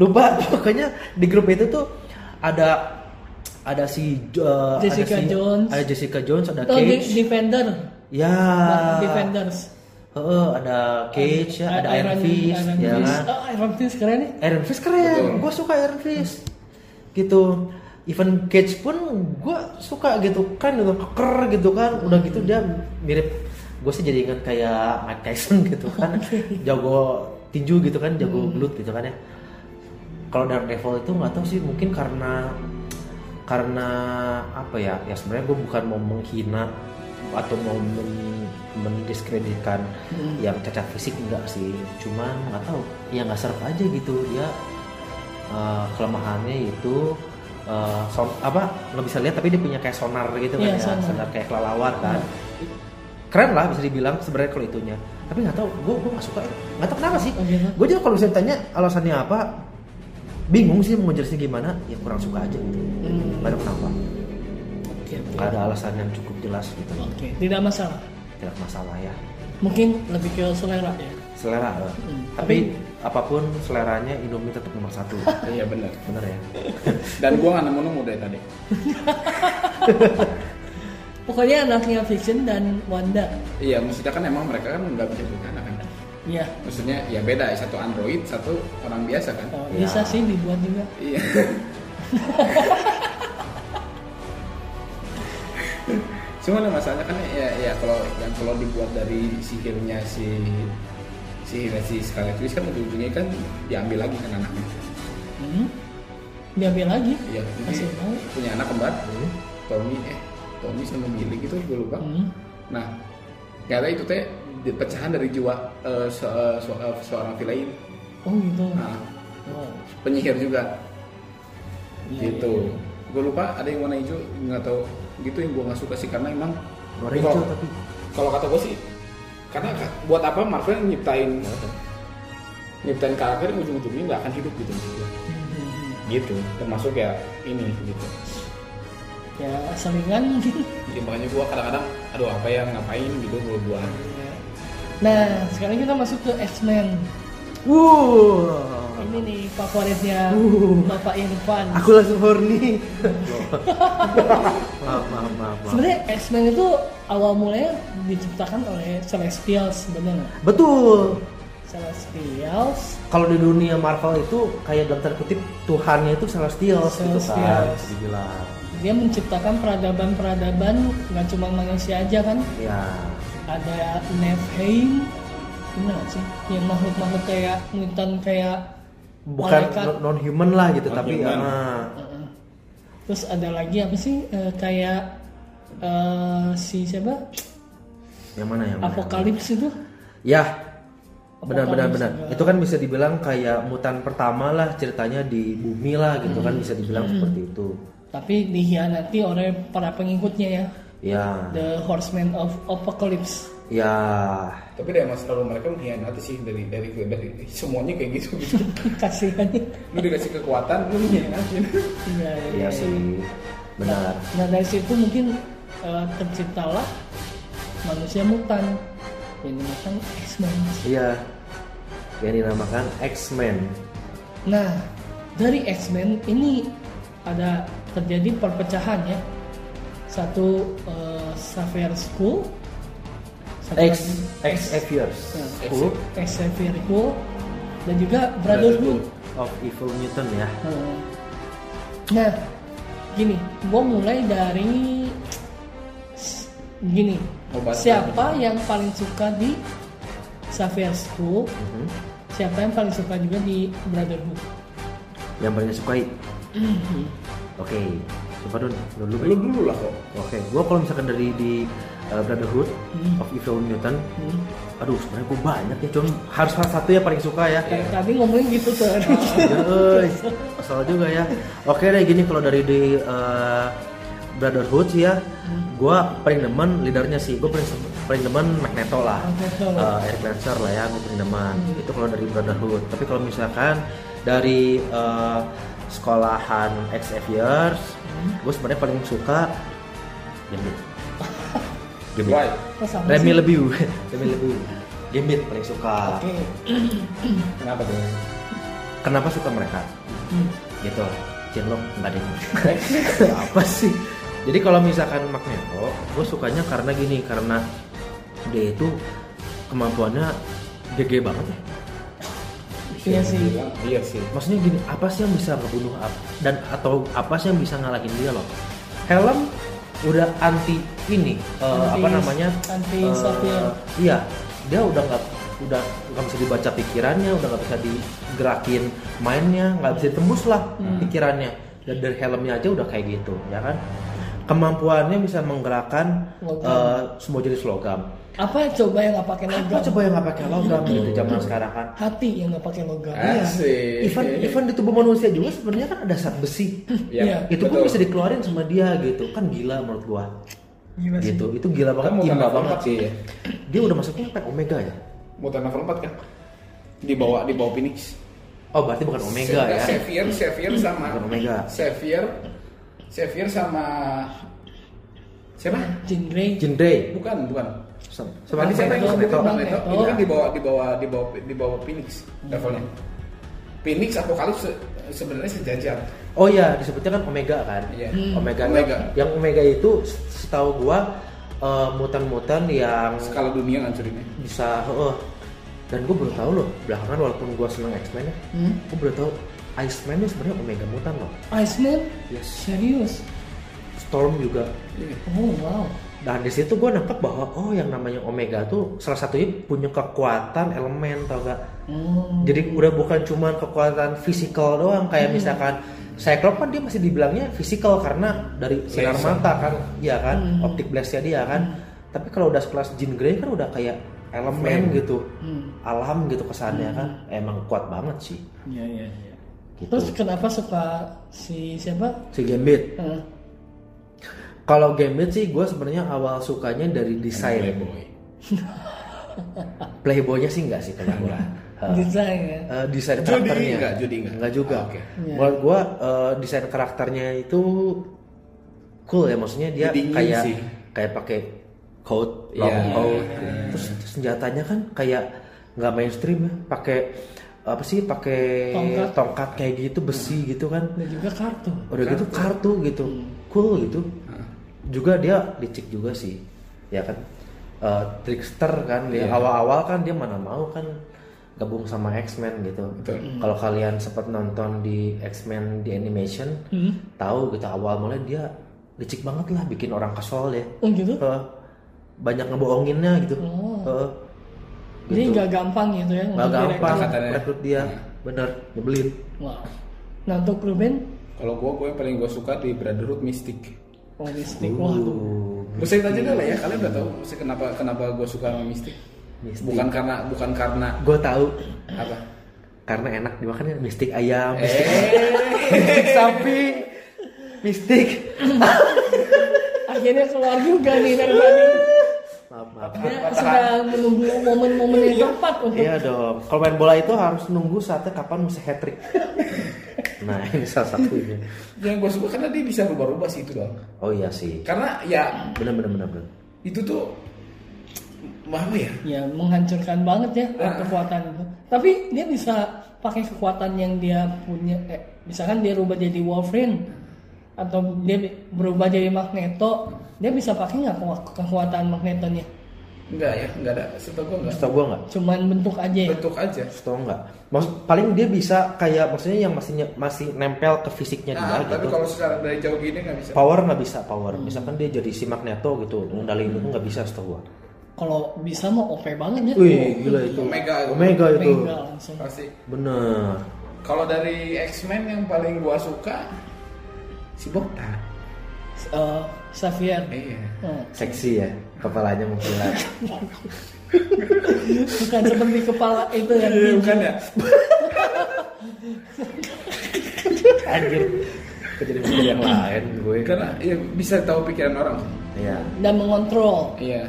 Speaker 3: lupa pokoknya di grup itu tuh ada ada si eh,
Speaker 1: Jessica
Speaker 3: ada si-
Speaker 1: Jones.
Speaker 3: ada Jessica Jones ada
Speaker 1: atau
Speaker 3: Cage
Speaker 1: di- Defender
Speaker 3: ya
Speaker 1: Defenders
Speaker 3: Heeh, ada Cage ya, ada Iron Fist
Speaker 1: Iron
Speaker 3: ya
Speaker 1: Fist.
Speaker 3: kan
Speaker 1: Oh, Iron Fist keren nih
Speaker 3: Iron Fist keren,
Speaker 4: Betul.
Speaker 3: gue suka Iron Fist gitu even Cage pun gue suka gitu kan dengan keker gitu kan udah gitu dia mirip gue sih jadi ingat kayak Mike Tyson gitu kan jago tinju gitu kan jago belut gitu kan ya kalau Dark Devil itu nggak tahu sih mungkin karena karena apa ya ya sebenarnya gue bukan mau menghina atau mau men- mendiskreditkan yang cacat fisik enggak sih cuman nggak tahu ya nggak serap aja gitu dia eh, kelemahannya itu eh, son- apa nggak bisa lihat tapi dia punya kayak sonar gitu kan
Speaker 1: Iya,
Speaker 3: ya
Speaker 1: sonar. Iya.
Speaker 3: sonar kayak kelelawar kan keren lah bisa dibilang sebenarnya kalau itunya tapi nggak tahu gue gue nggak suka nggak tahu kenapa sih
Speaker 1: Oh, gitu.
Speaker 3: gue juga kalau misalnya tanya alasannya apa bingung sih mau jelasin gimana ya kurang suka aja gitu
Speaker 1: Hmm.
Speaker 3: nggak tahu kenapa
Speaker 1: oke oke.
Speaker 3: nggak ada alasan yang cukup jelas gitu
Speaker 1: Oke, tidak masalah
Speaker 3: tidak masalah ya
Speaker 1: mungkin lebih ke selera ya
Speaker 3: selera lah.
Speaker 1: Hmm.
Speaker 3: tapi apapun seleranya Indomie tetap nomor satu
Speaker 4: Iya benar.
Speaker 3: bener ya
Speaker 4: Dan gua nggak nemu-nemu dari tadi.
Speaker 1: pokoknya anaknya Vision dan Wanda
Speaker 4: Iya, maksudnya kan emang mereka kan nggak bisa bercanda kan.
Speaker 1: iya
Speaker 4: Maksudnya ya beda, satu android, satu orang biasa kan.
Speaker 1: Oh,
Speaker 3: Ya.
Speaker 1: bisa sih dibuat juga
Speaker 4: Iya. Cuman masalahnya kan ya, ya kalau yang kalau dibuat dari sihirnya si sihirnya si Scarlet Witch kan ujung-ujungnya kan diambil lagi kan anaknya.
Speaker 1: hmm. diambil lagi
Speaker 4: Iya, jadi
Speaker 1: Masih mau.
Speaker 4: punya anak kembar.
Speaker 1: Iya.
Speaker 4: Tommy eh Tommy sama Billy gitu gue lupa.
Speaker 1: Hmm.
Speaker 4: Nah, ternyata itu teh di- pecahan dari jiwa eh, se- eh, se- eh, seorang villain.
Speaker 1: oh gitu
Speaker 4: Nah,
Speaker 1: Wow.
Speaker 4: penyihir juga.
Speaker 1: Iya,
Speaker 4: gitu. Gue lupa ada yang warna hijau nggak tahu gitu yang gue nggak suka sih karena emang
Speaker 3: nomor
Speaker 4: kalau-
Speaker 3: hijau tapi
Speaker 4: Kalau kata gue sih, karena ka- buat apa Marvel
Speaker 3: Iya,
Speaker 4: nyiptain nyiptain karakter yang ujung-ujungnya nggak akan hidup gitu.
Speaker 1: Hmm.
Speaker 4: Gitu. Termasuk ya ini gitu.
Speaker 1: ya selingan mungkin
Speaker 4: Jadi makanya gue kadang-kadang, aduh apa ya ngapain gitu gue buat.
Speaker 1: nah sekarang kita masuk ke X-Men
Speaker 3: wow
Speaker 1: ini nih favoritnya
Speaker 3: Uh.
Speaker 1: Bapak Irfan
Speaker 3: aku langsung horny maaf maaf maaf, maaf.
Speaker 1: sebenarnya X-Men itu awal mulanya diciptakan oleh Celestials sebenarnya
Speaker 3: betul
Speaker 1: Celestials
Speaker 3: kalau di dunia Marvel itu kayak dalam tanda kutip Tuhannya itu Celestials gitu kan
Speaker 1: Celestials.
Speaker 3: bisa dibilang
Speaker 1: dia menciptakan peradaban-peradaban nggak cuma manusia aja kan
Speaker 3: ya
Speaker 1: ada Nephilim gimana sih yang makhluk-makhluk kayak mutan kayak
Speaker 3: bukan
Speaker 1: malaikat.
Speaker 3: non human lah gitu tapi
Speaker 4: Non-human.
Speaker 3: ah,
Speaker 1: Heeh. terus ada lagi apa sih eh, kayak eh, si siapa
Speaker 3: yang mana yang mana?
Speaker 1: Apokalips itu
Speaker 3: ya benar benar
Speaker 1: Apokalips
Speaker 3: benar
Speaker 1: juga.
Speaker 3: itu kan bisa dibilang kayak mutan pertama lah ceritanya di bumi lah gitu kan bisa dibilang seperti itu
Speaker 1: tapi dihianati oleh para pengikutnya ya
Speaker 3: ya
Speaker 1: The Horsemen of Apocalypse
Speaker 3: ya
Speaker 4: Tapi dari masa lalu mereka mengkhianati sih dari dari dari semuanya kayak gitu gitu.
Speaker 1: kasihan
Speaker 4: lu dikasih kekuatan, lu mengkhianatin.
Speaker 1: iya
Speaker 3: iya sih benar
Speaker 1: nah dari situ mungkin eh, terciptalah manusia mutan yang dinamakan X-Men
Speaker 3: iya yang dinamakan X-Men
Speaker 1: nah dari X-Men ini ada terjadi perpecahan ya satu eh, Xavier School satu
Speaker 3: X Ya,
Speaker 1: lagi-
Speaker 3: X Xavier's
Speaker 1: Nah.
Speaker 3: Group
Speaker 1: Xavier School dan juga Brotherhood
Speaker 3: of Evil Mutant ya
Speaker 1: Hmm. Nah, gini, gue mulai dari gini.
Speaker 3: Oh,
Speaker 4: Obat
Speaker 1: siapa yang paling suka di Xavier School?
Speaker 3: Mhm.
Speaker 1: Siapa yang paling suka juga di Brotherhood?
Speaker 3: yang paling disukai oke siapa dulu Mhm. dulu
Speaker 4: Lu
Speaker 3: Bri?
Speaker 4: dulu lah kok.
Speaker 3: oke gua kalau misalkan dari di uh, Brotherhood of Evil Mutant aduh sebenarnya gua banyak ya cuman harus salah satu ya paling suka ya
Speaker 1: Kayak tadi ngomongin gitu terus.
Speaker 3: Yes, salah juga ya. Oke deh gini kalau dari di eh, Brotherhood sih ya, gua paling demen leadernya sih, gua paling paling demen Magneto lah,
Speaker 1: Oh, Magneto.
Speaker 3: Eh, Eric Lancer lah ya, gua paling demen. Itu kalau dari Brotherhood. Tapi kalau misalkan dari eh, sekolahan Xaviers,
Speaker 1: Hmm.
Speaker 3: gue sebenarnya paling suka Gambit. Gambit.
Speaker 4: Why?
Speaker 1: Kok sama
Speaker 3: Remy
Speaker 1: sih?
Speaker 3: lebih, Remy lebih. Gambit paling suka.
Speaker 1: Oke.
Speaker 4: Kenapa tuh?
Speaker 3: Kenapa suka mereka?
Speaker 1: Hmm.
Speaker 3: Gitu. Cinlok nggak ada yang- Ya apa sih? Jadi kalau misalkan Magneto, gue sukanya karena gini, karena dia itu kemampuannya gede banget ya.
Speaker 1: Iya sih.
Speaker 4: Iya sih.
Speaker 3: Maksudnya gini, apa sih yang bisa ngebunuh ap- dan atau apa sih yang bisa ngalahin dia loh? Helm udah anti ini eh,
Speaker 1: Anti-
Speaker 3: apa namanya?
Speaker 1: anti ya.
Speaker 3: eh,
Speaker 1: sopir.
Speaker 3: Iya, dia udah nggak udah nggak bisa dibaca pikirannya, udah nggak bisa digerakin mainnya, nggak bisa ditembus lah
Speaker 1: Hmm.
Speaker 3: pikirannya. Dan dari helmnya aja udah kayak gitu, ya kan? Kemampuannya bisa menggerakkan
Speaker 1: Logam.
Speaker 3: eh, semua jenis logam.
Speaker 1: Apa coba yang nggak pakai
Speaker 3: Apa
Speaker 1: logam?
Speaker 3: coba yang nggak pakai logam gitu zaman sekarang kan?
Speaker 1: Hati yang nggak pakai logam. Iya.
Speaker 4: Asik.
Speaker 3: Even, even di tubuh manusia juga sebenarnya kan ada zat besi.
Speaker 4: Iya,
Speaker 1: Iya.
Speaker 3: itu pun
Speaker 4: betul.
Speaker 3: bisa dikeluarin sama dia gitu kan gila menurut gua
Speaker 1: Gila sih.
Speaker 3: gitu itu gila banget
Speaker 4: Kamu bukan
Speaker 3: imba
Speaker 4: level
Speaker 3: banget
Speaker 4: 4 sih ya?
Speaker 3: dia udah masuknya pack omega ya
Speaker 4: Mutan level 4 kan? Di bawah di bawah Phoenix.
Speaker 3: oh berarti bukan omega ya
Speaker 4: Xavier, Xavier sama
Speaker 3: bukan omega
Speaker 4: Xavier, Xavier sama siapa?
Speaker 1: Jean Grey.
Speaker 3: Gitu. jindrei
Speaker 4: Bukan, bukan.
Speaker 3: Sama- sama
Speaker 4: Tadi siapa
Speaker 1: Magneto,
Speaker 4: yang ngomong itu?
Speaker 1: Magneto.
Speaker 4: Magneto. Itu kan di bawah di bawah di bawah di bawah Phoenix levelnya. Phoenix Apokalips se- sebenarnya sejajar.
Speaker 3: oh ya disebutnya kan omega kan
Speaker 4: Iya.
Speaker 3: omega,
Speaker 4: Omega.
Speaker 3: yang omega itu setahu gua eh, mutan-mutan yang
Speaker 4: Skala dunia ngancurinnya.
Speaker 3: bisa heeh. dan gue baru tahu loh belakangan walaupun gua seneng X-Men ya
Speaker 1: Hmm.
Speaker 3: gue baru tahu Iceman itu sebenarnya omega mutan loh
Speaker 1: Iceman.
Speaker 3: yes
Speaker 1: Serius.
Speaker 3: Storm juga
Speaker 4: Iya.
Speaker 1: Oh wow.
Speaker 3: Dan di situ gue nangkep bahwa oh yang namanya Omega tuh salah satunya punya kekuatan elemen tau gak?
Speaker 1: Oh.
Speaker 3: Jadi udah bukan cuman kekuatan fisikal doang
Speaker 1: Hmm.
Speaker 3: kayak misalkan Cyclops kan dia masih dibilangnya fisikal karena dari sinar
Speaker 4: Laser.
Speaker 3: mata kan, iya kan,
Speaker 1: Hmm.
Speaker 3: optik blastnya dia kan. Tapi kalau udah sekelas Jean Grey kan udah kayak elemen gitu,
Speaker 1: Hmm.
Speaker 3: alam gitu kesannya kan, emang kuat banget sih.
Speaker 4: Iya, iya, iya.
Speaker 3: Gitu.
Speaker 1: Terus kenapa suka si siapa?
Speaker 3: si Gambit.
Speaker 1: Eh,
Speaker 3: Kalau Gambit sih gue sebenarnya awal sukanya dari desain.
Speaker 4: Playboy.
Speaker 3: Playboynya sih enggak sih kalau gue.
Speaker 1: Desain ya.
Speaker 3: Eh, desain
Speaker 4: Judi
Speaker 3: karakternya
Speaker 4: enggak, judi enggak?
Speaker 3: juga
Speaker 4: Ah, oke.
Speaker 1: Iya.
Speaker 3: menurut gua eh, desain karakternya itu cool ya maksudnya dia
Speaker 4: Dingin
Speaker 3: kayak
Speaker 4: sih.
Speaker 3: kayak pakai coat long
Speaker 4: Iya, iya,
Speaker 3: coat
Speaker 4: iya.
Speaker 3: terus senjatanya kan kayak nggak mainstream ya pakai apa sih pakai
Speaker 1: Tongkat.
Speaker 3: tongkat kayak gitu besi gitu kan
Speaker 1: Dan juga kartu.
Speaker 3: udah gitu kartu gitu cool gitu juga dia licik juga sih ya kan Eh, trickster kan dia awal-awal kan dia mana mau kan gabung sama X-Men gitu
Speaker 4: Betul.
Speaker 3: kalau kalian sempat nonton di X-Men di animation
Speaker 1: Hmm.
Speaker 3: tahu gitu awal mulai dia licik banget lah bikin orang kesel ya
Speaker 1: Oh gitu.
Speaker 3: Eh, banyak ngebohonginnya gitu
Speaker 1: Oh.
Speaker 3: Eh,
Speaker 1: Jadi
Speaker 3: gitu.
Speaker 1: nggak gampang gitu ya.
Speaker 3: Nggak
Speaker 1: untuk
Speaker 3: gampang
Speaker 1: direkrut.
Speaker 4: katanya.
Speaker 3: rekrut dia bener nyebelin
Speaker 1: Wow. Nah untuk Ruben,
Speaker 4: Kalau gua, gua yang paling gua suka di Brotherhood Mystic.
Speaker 1: Oh, holistik. Wah tuh.
Speaker 3: Uh,
Speaker 4: Musik aja deh lah ya, kalian udah tahu musik kenapa kenapa gue suka sama mistik.
Speaker 3: Mystic.
Speaker 4: Bukan karena bukan karena
Speaker 3: gue tahu
Speaker 4: apa?
Speaker 3: karena enak dimakan ya mistik ayam, mistik,
Speaker 4: Eh,
Speaker 3: mistik sapi, mistik.
Speaker 1: Akhirnya keluar juga nih dari Bali.
Speaker 3: Uh. Maaf maaf.
Speaker 1: Dia sedang menunggu momen-momen yang tepat untuk
Speaker 3: Iya dong. Kalau main bola itu harus nunggu saatnya kapan mesti hat trick. Nah ini salah satunya.
Speaker 4: yang gue suka karena dia bisa rubah-rubah sih itu doang.
Speaker 3: Oh iya sih.
Speaker 4: Karena ya
Speaker 3: Bener bener bener bener.
Speaker 4: itu tuh apa ya?
Speaker 1: ya menghancurkan banget ya
Speaker 3: Uh.
Speaker 4: Ah.
Speaker 1: kekuatan itu. Tapi dia bisa pakai kekuatan yang dia punya. Eh, misalkan dia rubah jadi Wolverine atau dia bi- berubah jadi Magneto, dia bisa pakai nggak keku- kekuatan Magnetonya?
Speaker 4: Enggak ya, enggak ada. Serta gue enggak.
Speaker 3: Setau gue nggak?
Speaker 1: Cuman bentuk aja. Ya?
Speaker 4: Bentuk aja.
Speaker 3: Setau nggak? Maksud paling dia bisa kayak maksudnya yang masih masih nempel ke fisiknya dia
Speaker 4: Nah, tapi
Speaker 3: gitu.
Speaker 4: kalau secara dari jauh gini nggak bisa.
Speaker 3: Power nggak bisa power. Misalkan dia jadi si Magneto gitu, ngendaliin itu nggak bisa setau gue.
Speaker 1: Kalau bisa mau OP banget ya.
Speaker 3: Wih gila itu.
Speaker 4: Omega.
Speaker 3: Omega itu.
Speaker 1: Mega langsung.
Speaker 4: Pasti.
Speaker 3: Bener.
Speaker 4: Kalau dari X-Men yang paling gue suka si Bokta.
Speaker 1: Eh, Xavier.
Speaker 4: Iya.
Speaker 1: Hmm.
Speaker 3: seksi ya kepalanya mengkilat
Speaker 1: Bukan seperti kepala itu yang
Speaker 4: Iya,
Speaker 1: tinggi.
Speaker 4: bukan ya?
Speaker 3: anjir Kok jadi mikir yang lain gue
Speaker 4: Karena ya bisa tahu pikiran orang.
Speaker 3: iya
Speaker 1: dan mengontrol.
Speaker 4: Iya.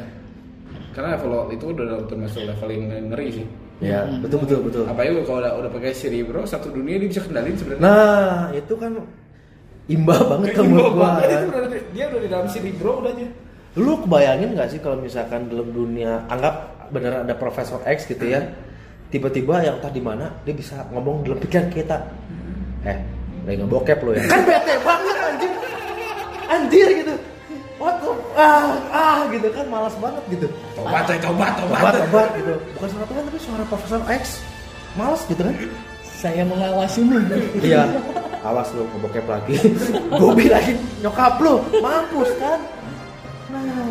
Speaker 4: Karena level itu udah termasuk level yang ngeri sih.
Speaker 3: ya betul betul betul
Speaker 4: Apa ya kalau udah, udah pakai cerebro satu dunia dia bisa kendalin sebenarnya.
Speaker 3: nah itu kan imbah banget
Speaker 4: Kayak
Speaker 3: kan menurut
Speaker 4: Indo
Speaker 3: gua
Speaker 4: banget
Speaker 3: kan.
Speaker 4: itu udah- dia udah di dalam cerebro udah aja.
Speaker 3: Lu kebayangin nggak sih kalau misalkan dalam dunia anggap beneran ada Profesor X gitu ya, tiba-tiba yang entah di mana dia bisa ngomong dalam pikiran kita. Eh, lagi ngebokep lo ya. Kan bete banget anjir. Anjir gitu. What the, ah, ah gitu kan malas banget gitu.
Speaker 4: Tobat, coy, tobat, tobat.
Speaker 3: Obat, obat gitu. Bukan suara Tuhan tapi suara Profesor X. Malas gitu kan?
Speaker 1: Saya mengawasimu.
Speaker 3: Iya. Awas lu ngebokep lagi. Gobi lagi nyokap lu. Mampus kan? Nah,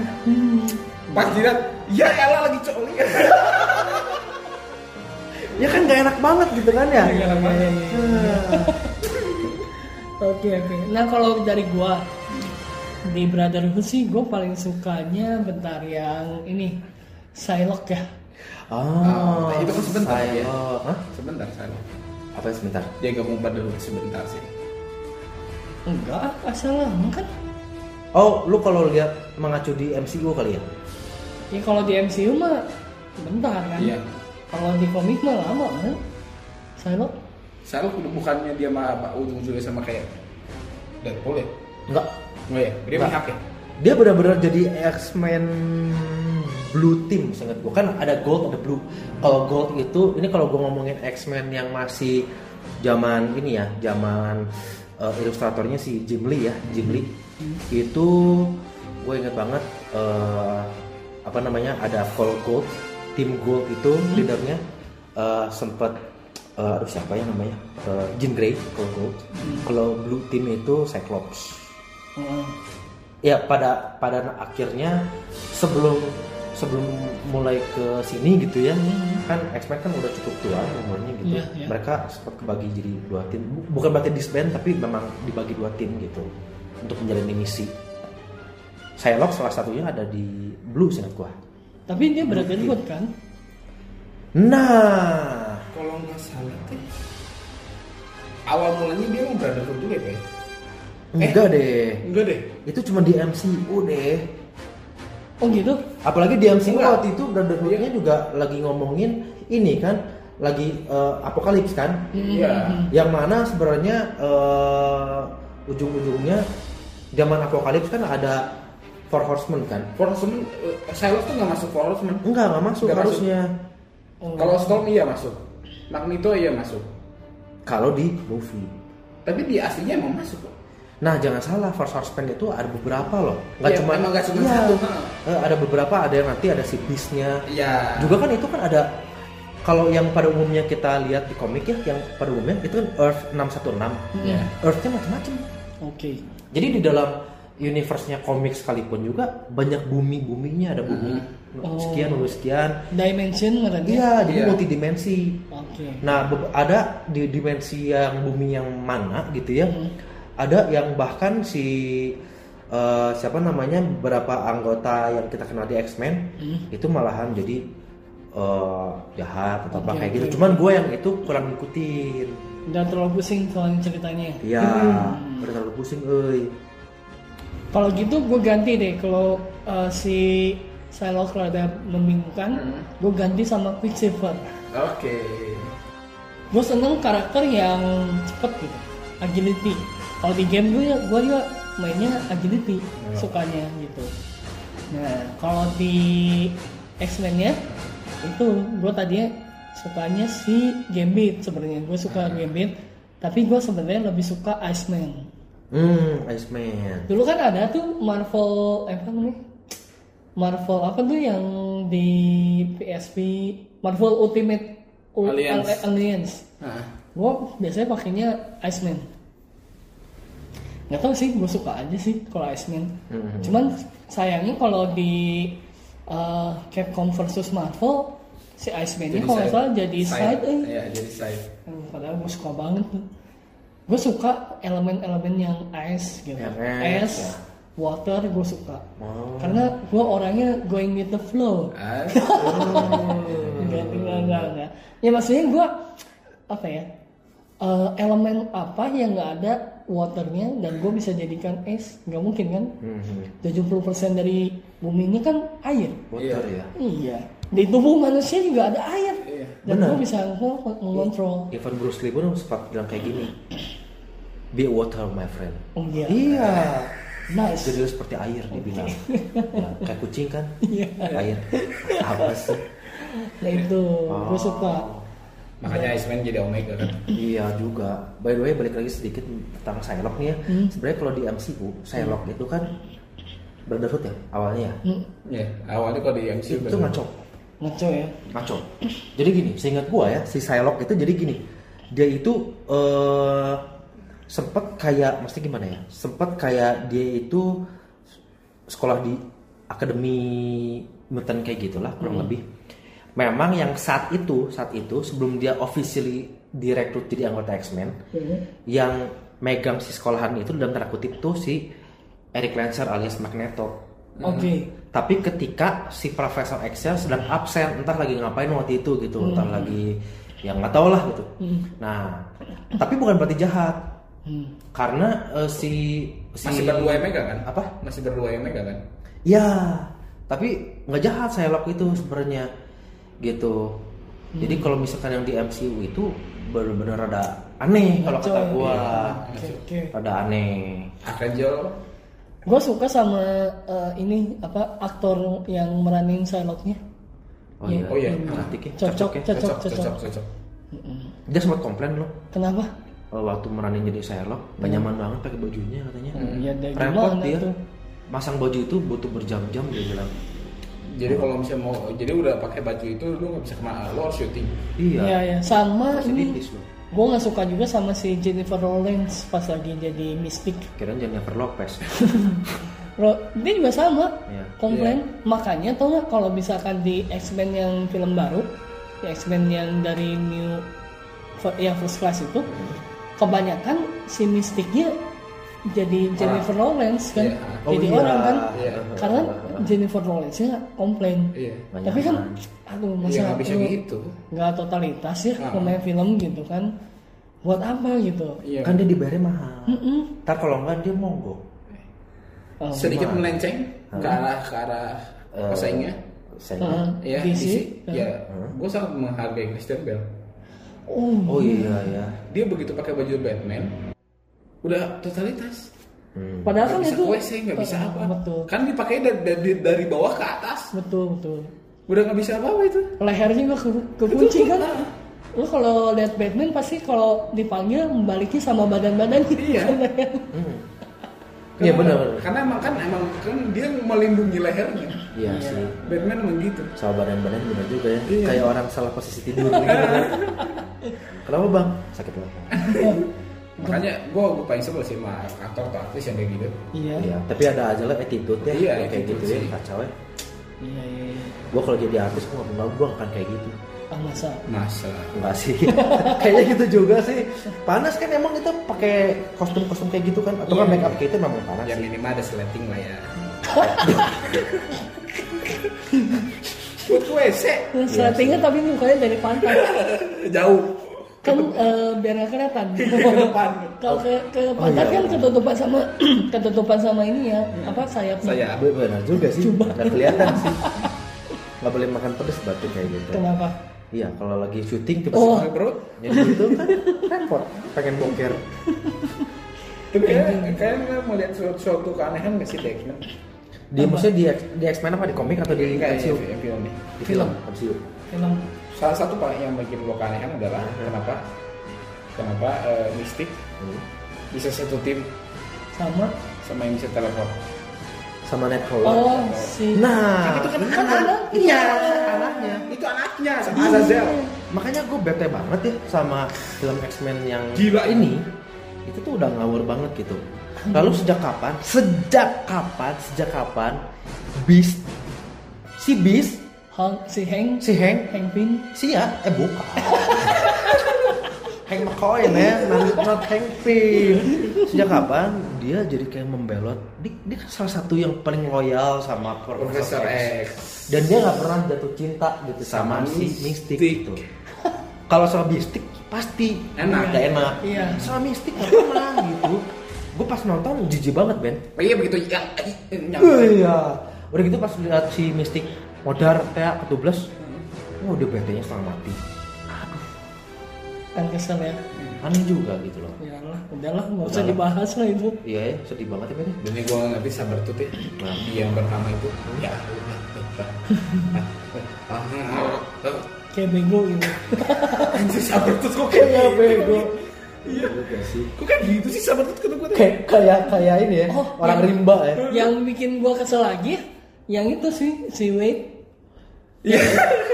Speaker 4: Pas jilat, ya elah lagi coli.
Speaker 3: ya kan gak enak banget gitu kan ya
Speaker 1: Oke oke. Nah kalau dari gua di Brotherhood sih gua paling sukanya bentar yang ini Psylocke ya.
Speaker 3: oh
Speaker 4: itu kan sebentar
Speaker 3: saya
Speaker 4: ya.
Speaker 3: Hah?
Speaker 4: Sebentar saya.
Speaker 3: apa yang sebentar
Speaker 4: Dia gabung pada lu sebentar sih.
Speaker 1: Enggak, asal lama kan.
Speaker 3: oh lu kalau lihat mengacu di MCU kali ya
Speaker 1: Ya kalau di MCU mah bentar kan.
Speaker 4: Iya.
Speaker 1: Kalau di komik mah lama kan. Psylocke
Speaker 4: Saya lu bukannya dia sama Pak Ujung Julia sama kayak Deadpool ya?
Speaker 3: enggak
Speaker 4: Oh ya, dia
Speaker 3: Enggak.
Speaker 4: mihak ya?
Speaker 3: dia benar-benar jadi X-Men Blue Team sangat gua kan ada Gold ada Blue kalau Gold itu ini kalau gua ngomongin X-Men yang masih zaman ini ya zaman eh, ilustratornya si Jim Lee ya Jim Lee itu gue inget banget eh, apa namanya ada Paul Gold tim Gold itu leadernya eh, sempat eh, aduh siapa ya namanya Eh, Jean Grey Paul Gold kalau Blue Team itu Cyclops
Speaker 1: Heeh.
Speaker 3: ya pada pada akhirnya sebelum sebelum mulai ke sini gitu ya kan X-Men kan udah cukup tua umurnya gitu
Speaker 1: Iya, iya.
Speaker 3: mereka sempat kebagi jadi dua tim Bu- bukan berarti disband tapi memang dibagi dua tim gitu untuk menjalani misi Psylocke salah satunya ada di Blue seingat gua
Speaker 1: Tapi dia
Speaker 4: Iya.
Speaker 1: Brotherhood kan.
Speaker 3: nah
Speaker 4: Kalau nggak salah teh awal mulanya dia mau Brotherhood juga ya? Pak?
Speaker 1: Eh.
Speaker 3: enggak deh
Speaker 4: Enggak deh.
Speaker 3: itu cuma di MCU deh
Speaker 1: Oh gitu.
Speaker 3: Apalagi di MCU
Speaker 4: Enggak.
Speaker 3: waktu itu Brotherhood-nya
Speaker 1: Iya.
Speaker 3: juga lagi ngomongin ini kan lagi eh, apokalips kan
Speaker 4: Iya.
Speaker 3: yang mana sebenarnya eh, ujung-ujungnya zaman apokalips kan ada Four Horsemen kan
Speaker 4: Forceman, uh, Psylocke tuh nggak masuk Forceman.
Speaker 3: enggak nggak masuk
Speaker 4: Nggak masuk.
Speaker 3: harusnya
Speaker 1: Oh.
Speaker 4: Kalau Storm iya masuk, Magneto iya masuk.
Speaker 3: kalau di movie
Speaker 4: Tapi di aslinya emang masuk kok.
Speaker 3: nah jangan salah Four Horsemen itu ada beberapa loh nggak
Speaker 4: Iya,
Speaker 3: cuma
Speaker 4: emang nggak cuma
Speaker 3: Iya.
Speaker 4: satu.
Speaker 3: Eh, ada beberapa ada yang nanti ada si Beast-nya
Speaker 4: Iya.
Speaker 3: juga kan itu kan ada kalau yang pada umumnya kita lihat di komik ya yang pada umumnya itu kan Earth 616
Speaker 4: Iya.
Speaker 3: Earth-nya macam-macam
Speaker 1: Oke.
Speaker 3: jadi di dalam universe-nya komik sekalipun juga banyak bumi-buminya ada bumi
Speaker 1: Oh.
Speaker 3: sekian lalu sekian
Speaker 1: Dimension ngerti?
Speaker 3: iya jadi
Speaker 4: Iya.
Speaker 3: multidimensi
Speaker 1: Oke.
Speaker 3: nah be- ada di dimensi yang bumi yang mana gitu ya
Speaker 1: Hmm.
Speaker 3: ada yang bahkan si eh, siapa namanya beberapa anggota yang kita kenal di X-Men
Speaker 1: Hmm.
Speaker 3: itu malahan jadi eh, jahat atau apa
Speaker 1: Oke,
Speaker 3: kayak
Speaker 1: oke.
Speaker 3: gitu cuman gue yang itu kurang ngikutin
Speaker 1: Udah terlalu pusing soal ceritanya.
Speaker 3: iya
Speaker 1: Hmm.
Speaker 3: udah terlalu pusing euy
Speaker 1: Kalau gitu gue ganti deh kalau uh, si Psylocke rada membingungkan,
Speaker 4: Hmm.
Speaker 1: gue ganti sama Quicksilver.
Speaker 4: Oke.
Speaker 1: Gue seneng karakter yang cepet gitu, agility. Kalau di game gue gue juga mainnya agility, sukanya gitu. Nah kalau di X-Men nya itu gue tadinya sukanya si Gambit sebenarnya. Gue suka Gambit, tapi gue sebenarnya lebih suka Iceman.
Speaker 3: hmm Iceman
Speaker 1: Dulu kan ada tuh Marvel eh, apa namanya? Marvel apa tuh yang di PSP Marvel Ultimate U-
Speaker 4: Alliance.
Speaker 1: Al- Alliance.
Speaker 4: Nah,
Speaker 1: Gue biasanya pakainya Iceman. Gak tau sih, gue suka aja sih kalau Iceman.
Speaker 3: Mhm.
Speaker 1: Cuman sayangnya kalau di eh, Capcom versus Marvel si Iceman-nya kalau nggak salah jadi side, eh.
Speaker 4: Iya, jadi side.
Speaker 1: Hmm, Padahal gue suka banget tuh. Gue suka elemen-elemen yang ice gitu.
Speaker 3: Yang
Speaker 1: ice,
Speaker 3: ice, ya.
Speaker 1: water gue suka.
Speaker 3: Oh.
Speaker 1: Karena gue orangnya going with the flow.
Speaker 4: Ah,
Speaker 1: Enggak,
Speaker 3: Hmm.
Speaker 1: enggak, enggak, enggak. Ya maksudnya gue apa ya? eh, elemen apa yang nggak ada waternya dan gue bisa jadikan es nggak mungkin kan
Speaker 3: Mhm.
Speaker 1: 70% dari bumi ini kan air
Speaker 3: Water ya.
Speaker 1: iya di tubuh manusia juga ada air
Speaker 4: Iya.
Speaker 1: dan
Speaker 3: Benar.
Speaker 1: gue bisa ngontrol- ngontrol
Speaker 3: Even Bruce Lee pun sempat bilang kayak gini. Be water, my friend.
Speaker 1: oh iya
Speaker 3: Iya.
Speaker 1: nice
Speaker 3: Jadi seperti air dibilang. Ya, kayak kucing kan?
Speaker 1: Iya.
Speaker 3: Air. Apa sih?
Speaker 1: nah itu gue
Speaker 3: Oh.
Speaker 1: suka
Speaker 4: Makanya Iceman jadi Omega kan.
Speaker 3: Iya juga. By the way balik lagi sedikit tentang Sherlock nih ya.
Speaker 1: Hmm.
Speaker 3: Sebenarnya kalau di MCU Sherlock itu kan Brotherhood ya awalnya ya.
Speaker 1: Hmm.
Speaker 4: Iya, awalnya kalau di
Speaker 1: Iya,
Speaker 4: MCU
Speaker 3: Itu
Speaker 4: kan.
Speaker 3: ngaco,
Speaker 1: ngaco ya
Speaker 3: ngaco. Jadi gini, seingat gua ya si Sherlock itu jadi gini. Dia itu eh sempet kayak mesti gimana ya? Sempet kayak dia itu sekolah di akademi mutant kayak gitulah kurang lebih. Memang yang saat itu, saat itu sebelum dia officially direkrut jadi anggota X-Men,
Speaker 1: Iya.
Speaker 3: yang megang si sekolahan itu dalam tanda kutip tuh si Eric Lancer alias Magneto.
Speaker 1: oke
Speaker 3: Tapi ketika si Profesor X nya sedang
Speaker 4: Hmm.
Speaker 3: absen, entah lagi ngapain waktu itu gitu, entah lagi yang nggak tau lah gitu.
Speaker 4: Hmm.
Speaker 3: Nah, tapi bukan berarti jahat,
Speaker 1: Hmm.
Speaker 3: karena eh, si, si
Speaker 4: Masih berdua Omega kan?
Speaker 3: Apa?
Speaker 4: Masih berdua Omega kan?
Speaker 3: Ya, tapi nggak jahat Sherlock itu sebenarnya gitu.
Speaker 4: Hmm.
Speaker 3: Jadi kalau misalkan yang di MCU itu benar-benar ada aneh
Speaker 4: Hmm,
Speaker 3: kalau
Speaker 1: Ngaco
Speaker 3: kata
Speaker 1: ya.
Speaker 3: gua,
Speaker 1: oke oke
Speaker 4: Iya.
Speaker 3: ada aneh.
Speaker 4: Archangel
Speaker 1: gue suka sama eh, ini apa aktor yang meranin Sherlocknya
Speaker 3: Oh iya,
Speaker 4: Oh iya.
Speaker 3: cantik ya,
Speaker 1: Cocok.
Speaker 3: cocok ya.
Speaker 1: Cocok,
Speaker 4: cocok cocok
Speaker 1: cocok.
Speaker 4: cocok.
Speaker 3: Dia sempat komplain loh
Speaker 1: kenapa
Speaker 3: eh, waktu meranin jadi Sherlock,
Speaker 1: Hmm.
Speaker 3: gak nyaman banget pakai bajunya katanya.
Speaker 1: ya dari
Speaker 3: Repot
Speaker 1: gimana
Speaker 3: dia.
Speaker 1: tuh
Speaker 3: Masang baju itu butuh berjam-jam dia bilang.
Speaker 4: Jadi kalau misalnya mau jadi udah pakai baju itu lu nggak bisa kemana lo harus syuting.
Speaker 3: Iya.
Speaker 1: Iya, ya. sama
Speaker 3: Masih
Speaker 1: ini.
Speaker 3: tipis loh.
Speaker 1: Gue nggak suka juga sama si Jennifer Lawrence pas lagi jadi mistik.
Speaker 3: Kirain Jennifer Lopez.
Speaker 1: Ro- Dia juga sama,
Speaker 3: Iya.
Speaker 1: komplain. Makanya tau nggak kalau misalkan di X-Men yang film baru, di X-Men yang dari New, fir- yang First Class itu,
Speaker 4: Iya.
Speaker 1: kebanyakan si mistiknya jadi Jennifer Lawrence kan,
Speaker 4: Iya.
Speaker 3: Oh
Speaker 1: jadi
Speaker 3: iya.
Speaker 1: orang kan.
Speaker 4: Iya.
Speaker 1: Karena Jennifer Lawrence nya komplain.
Speaker 4: Iya.
Speaker 3: Nggak
Speaker 1: Tapi kan,
Speaker 3: nyaman.
Speaker 1: aduh
Speaker 4: Iya
Speaker 1: masa
Speaker 4: nggak bisa
Speaker 1: lu-
Speaker 4: gitu.
Speaker 1: nggak totalitas ya
Speaker 4: Ah.
Speaker 1: pemain film gitu kan buat apa gitu
Speaker 4: Iya.
Speaker 3: Kan dia dibayarnya mahal. Ntar kalau enggak dia monggo.
Speaker 1: Oh, Eh,
Speaker 4: sedikit melenceng ke arah ke arah pesaingnya.
Speaker 3: Saya
Speaker 1: Heeh.
Speaker 4: Iya,
Speaker 1: DC.
Speaker 4: DC. Ya, gue sangat menghargai Christian Bale.
Speaker 1: oh
Speaker 3: Oh iya ya.
Speaker 4: Dia begitu pakai baju Batman, udah totalitas.
Speaker 3: Hmm.
Speaker 1: padahal
Speaker 4: Gak
Speaker 1: kan
Speaker 4: bisa
Speaker 1: itu
Speaker 4: WC, nggak bisa
Speaker 1: Eh,
Speaker 4: apa.
Speaker 1: betul
Speaker 4: Kan dipakai dari, dari, dari bawah ke atas,
Speaker 1: betul betul
Speaker 4: udah nggak bisa apa-apa itu.
Speaker 1: leher juga ke kekunci kan lu kalau lihat Batman pasti kalau dipanggil membaliknya sama badan-badan
Speaker 4: Iya.
Speaker 3: Iya benar.
Speaker 4: Karena emang kan emang kan dia melindungi lehernya.
Speaker 3: Iya sih.
Speaker 4: Batman emang gitu.
Speaker 3: Soal badan-badan benar juga ya.
Speaker 4: Iya.
Speaker 3: Kayak orang salah posisi tidur gitu kan. Kenapa bang? Sakit belakang.
Speaker 4: Makanya gue gue paling sebel sih sama aktor atau aktris yang kayak gitu.
Speaker 1: iya
Speaker 3: Iya. Tapi ada aja lah attitude ya.
Speaker 4: Iya,
Speaker 3: Yang kayak
Speaker 4: attitude
Speaker 3: gitu ya.
Speaker 4: sih.
Speaker 3: Kacau ya.
Speaker 1: iya iya iya.
Speaker 3: Gue kalau jadi artis gue nggak mau gue akan kayak gitu.
Speaker 1: ah masa
Speaker 4: Masa.
Speaker 3: Enggak sih. Kayaknya gitu juga sih. Panas kan emang itu pakai kostum-kostum kayak gitu kan atau kan make up kayak itu memang panas
Speaker 4: Ya
Speaker 3: sih.
Speaker 4: minimal ada sleting lah ya. Buat WC
Speaker 1: Nah, settingnya tapi mukanya dari pantai
Speaker 4: jauh.
Speaker 1: kan eh, biar nggak kelihatan
Speaker 4: depan.
Speaker 1: kalau ke, ke pantai
Speaker 3: iya.
Speaker 1: kan ketutupan sama ketutupan sama ini ya
Speaker 4: Iya.
Speaker 1: apa sayapnya
Speaker 4: Saya
Speaker 3: Be- Benar juga sih. Enggak kelihatan sih. Enggak boleh makan pedes batu kayak gitu.
Speaker 1: kenapa
Speaker 3: Iya, kalau lagi syuting
Speaker 1: Oh.
Speaker 3: tiba-tiba
Speaker 4: Pakai perut.
Speaker 3: jadi gitu kan repot, pengen boker.
Speaker 4: Tapi kalian kalian mau lihat suatu, suatu keanehan nggak sih di X-Men?
Speaker 3: Di maksudnya di di X-Men apa di komik atau di
Speaker 4: Nggak,
Speaker 3: MCU?
Speaker 4: ya, film nih.
Speaker 3: Di film MCU.
Speaker 1: film
Speaker 4: Salah satu paling yang bikin gue keanehan adalah kenapa kenapa eh, Mystic
Speaker 3: Hmm.
Speaker 4: bisa satu tim
Speaker 1: sama
Speaker 4: sama yang bisa teleport.
Speaker 3: Sama Nightcrawler.
Speaker 1: oh si
Speaker 3: Nah,
Speaker 4: Itu kan
Speaker 1: kan
Speaker 4: anak.
Speaker 1: iya
Speaker 3: anaknya.
Speaker 4: Itu anaknya sama Azazel.
Speaker 3: Makanya gue bete banget ya sama film X-Men yang
Speaker 4: Gila.
Speaker 3: ini. Itu tuh udah ngawur banget gitu. Lalu sejak kapan? Sejak kapan? Sejak kapan? Beast si Beast,
Speaker 1: Hang, si Heng
Speaker 3: si Hank,
Speaker 1: Heng Pin
Speaker 3: si ya, eh bukan. Hank McCoy ya, not, not Hank Pym. Sejak kapan dia jadi kayak membelot? Dia, dia kan salah satu yang paling loyal sama
Speaker 4: Profesor X.
Speaker 3: dan dia nggak pernah jatuh cinta gitu sama,
Speaker 4: Sama
Speaker 3: si
Speaker 4: Mystic.
Speaker 3: mistik gitu kalau sama mistik pasti
Speaker 4: Enak.
Speaker 3: nggak enak
Speaker 1: Iya.
Speaker 3: sama mistik nggak pernah gitu gue pas nonton jijik banget Ben
Speaker 4: Oh, iya begitu yang
Speaker 3: iya udah gitu pas lihat si mistik modar teh ke 12 oh DPT-nya setengah mati
Speaker 1: kan kesel ya
Speaker 3: aneh juga gitu loh
Speaker 1: ya lah udahlah nggak usah dibahas lah itu
Speaker 3: iya ya sedih banget ya
Speaker 4: demi gue nggak ngerti sabar tuh teh
Speaker 3: Nah.
Speaker 4: yang pertama itu ya Ah,
Speaker 1: kayak bego gitu
Speaker 4: anjir sabar tuh kok
Speaker 3: Iya,
Speaker 4: kayak
Speaker 3: bego.
Speaker 4: iya
Speaker 3: Iya sih.
Speaker 4: kok kayak gitu sih sabar tuh kata gue teh
Speaker 3: Kayak kayak kayak ini ya,
Speaker 1: Oh,
Speaker 3: orang
Speaker 1: iya.
Speaker 3: rimba ya.
Speaker 1: yang bikin gua kesel lagi yang itu sih si Wade
Speaker 4: Iya.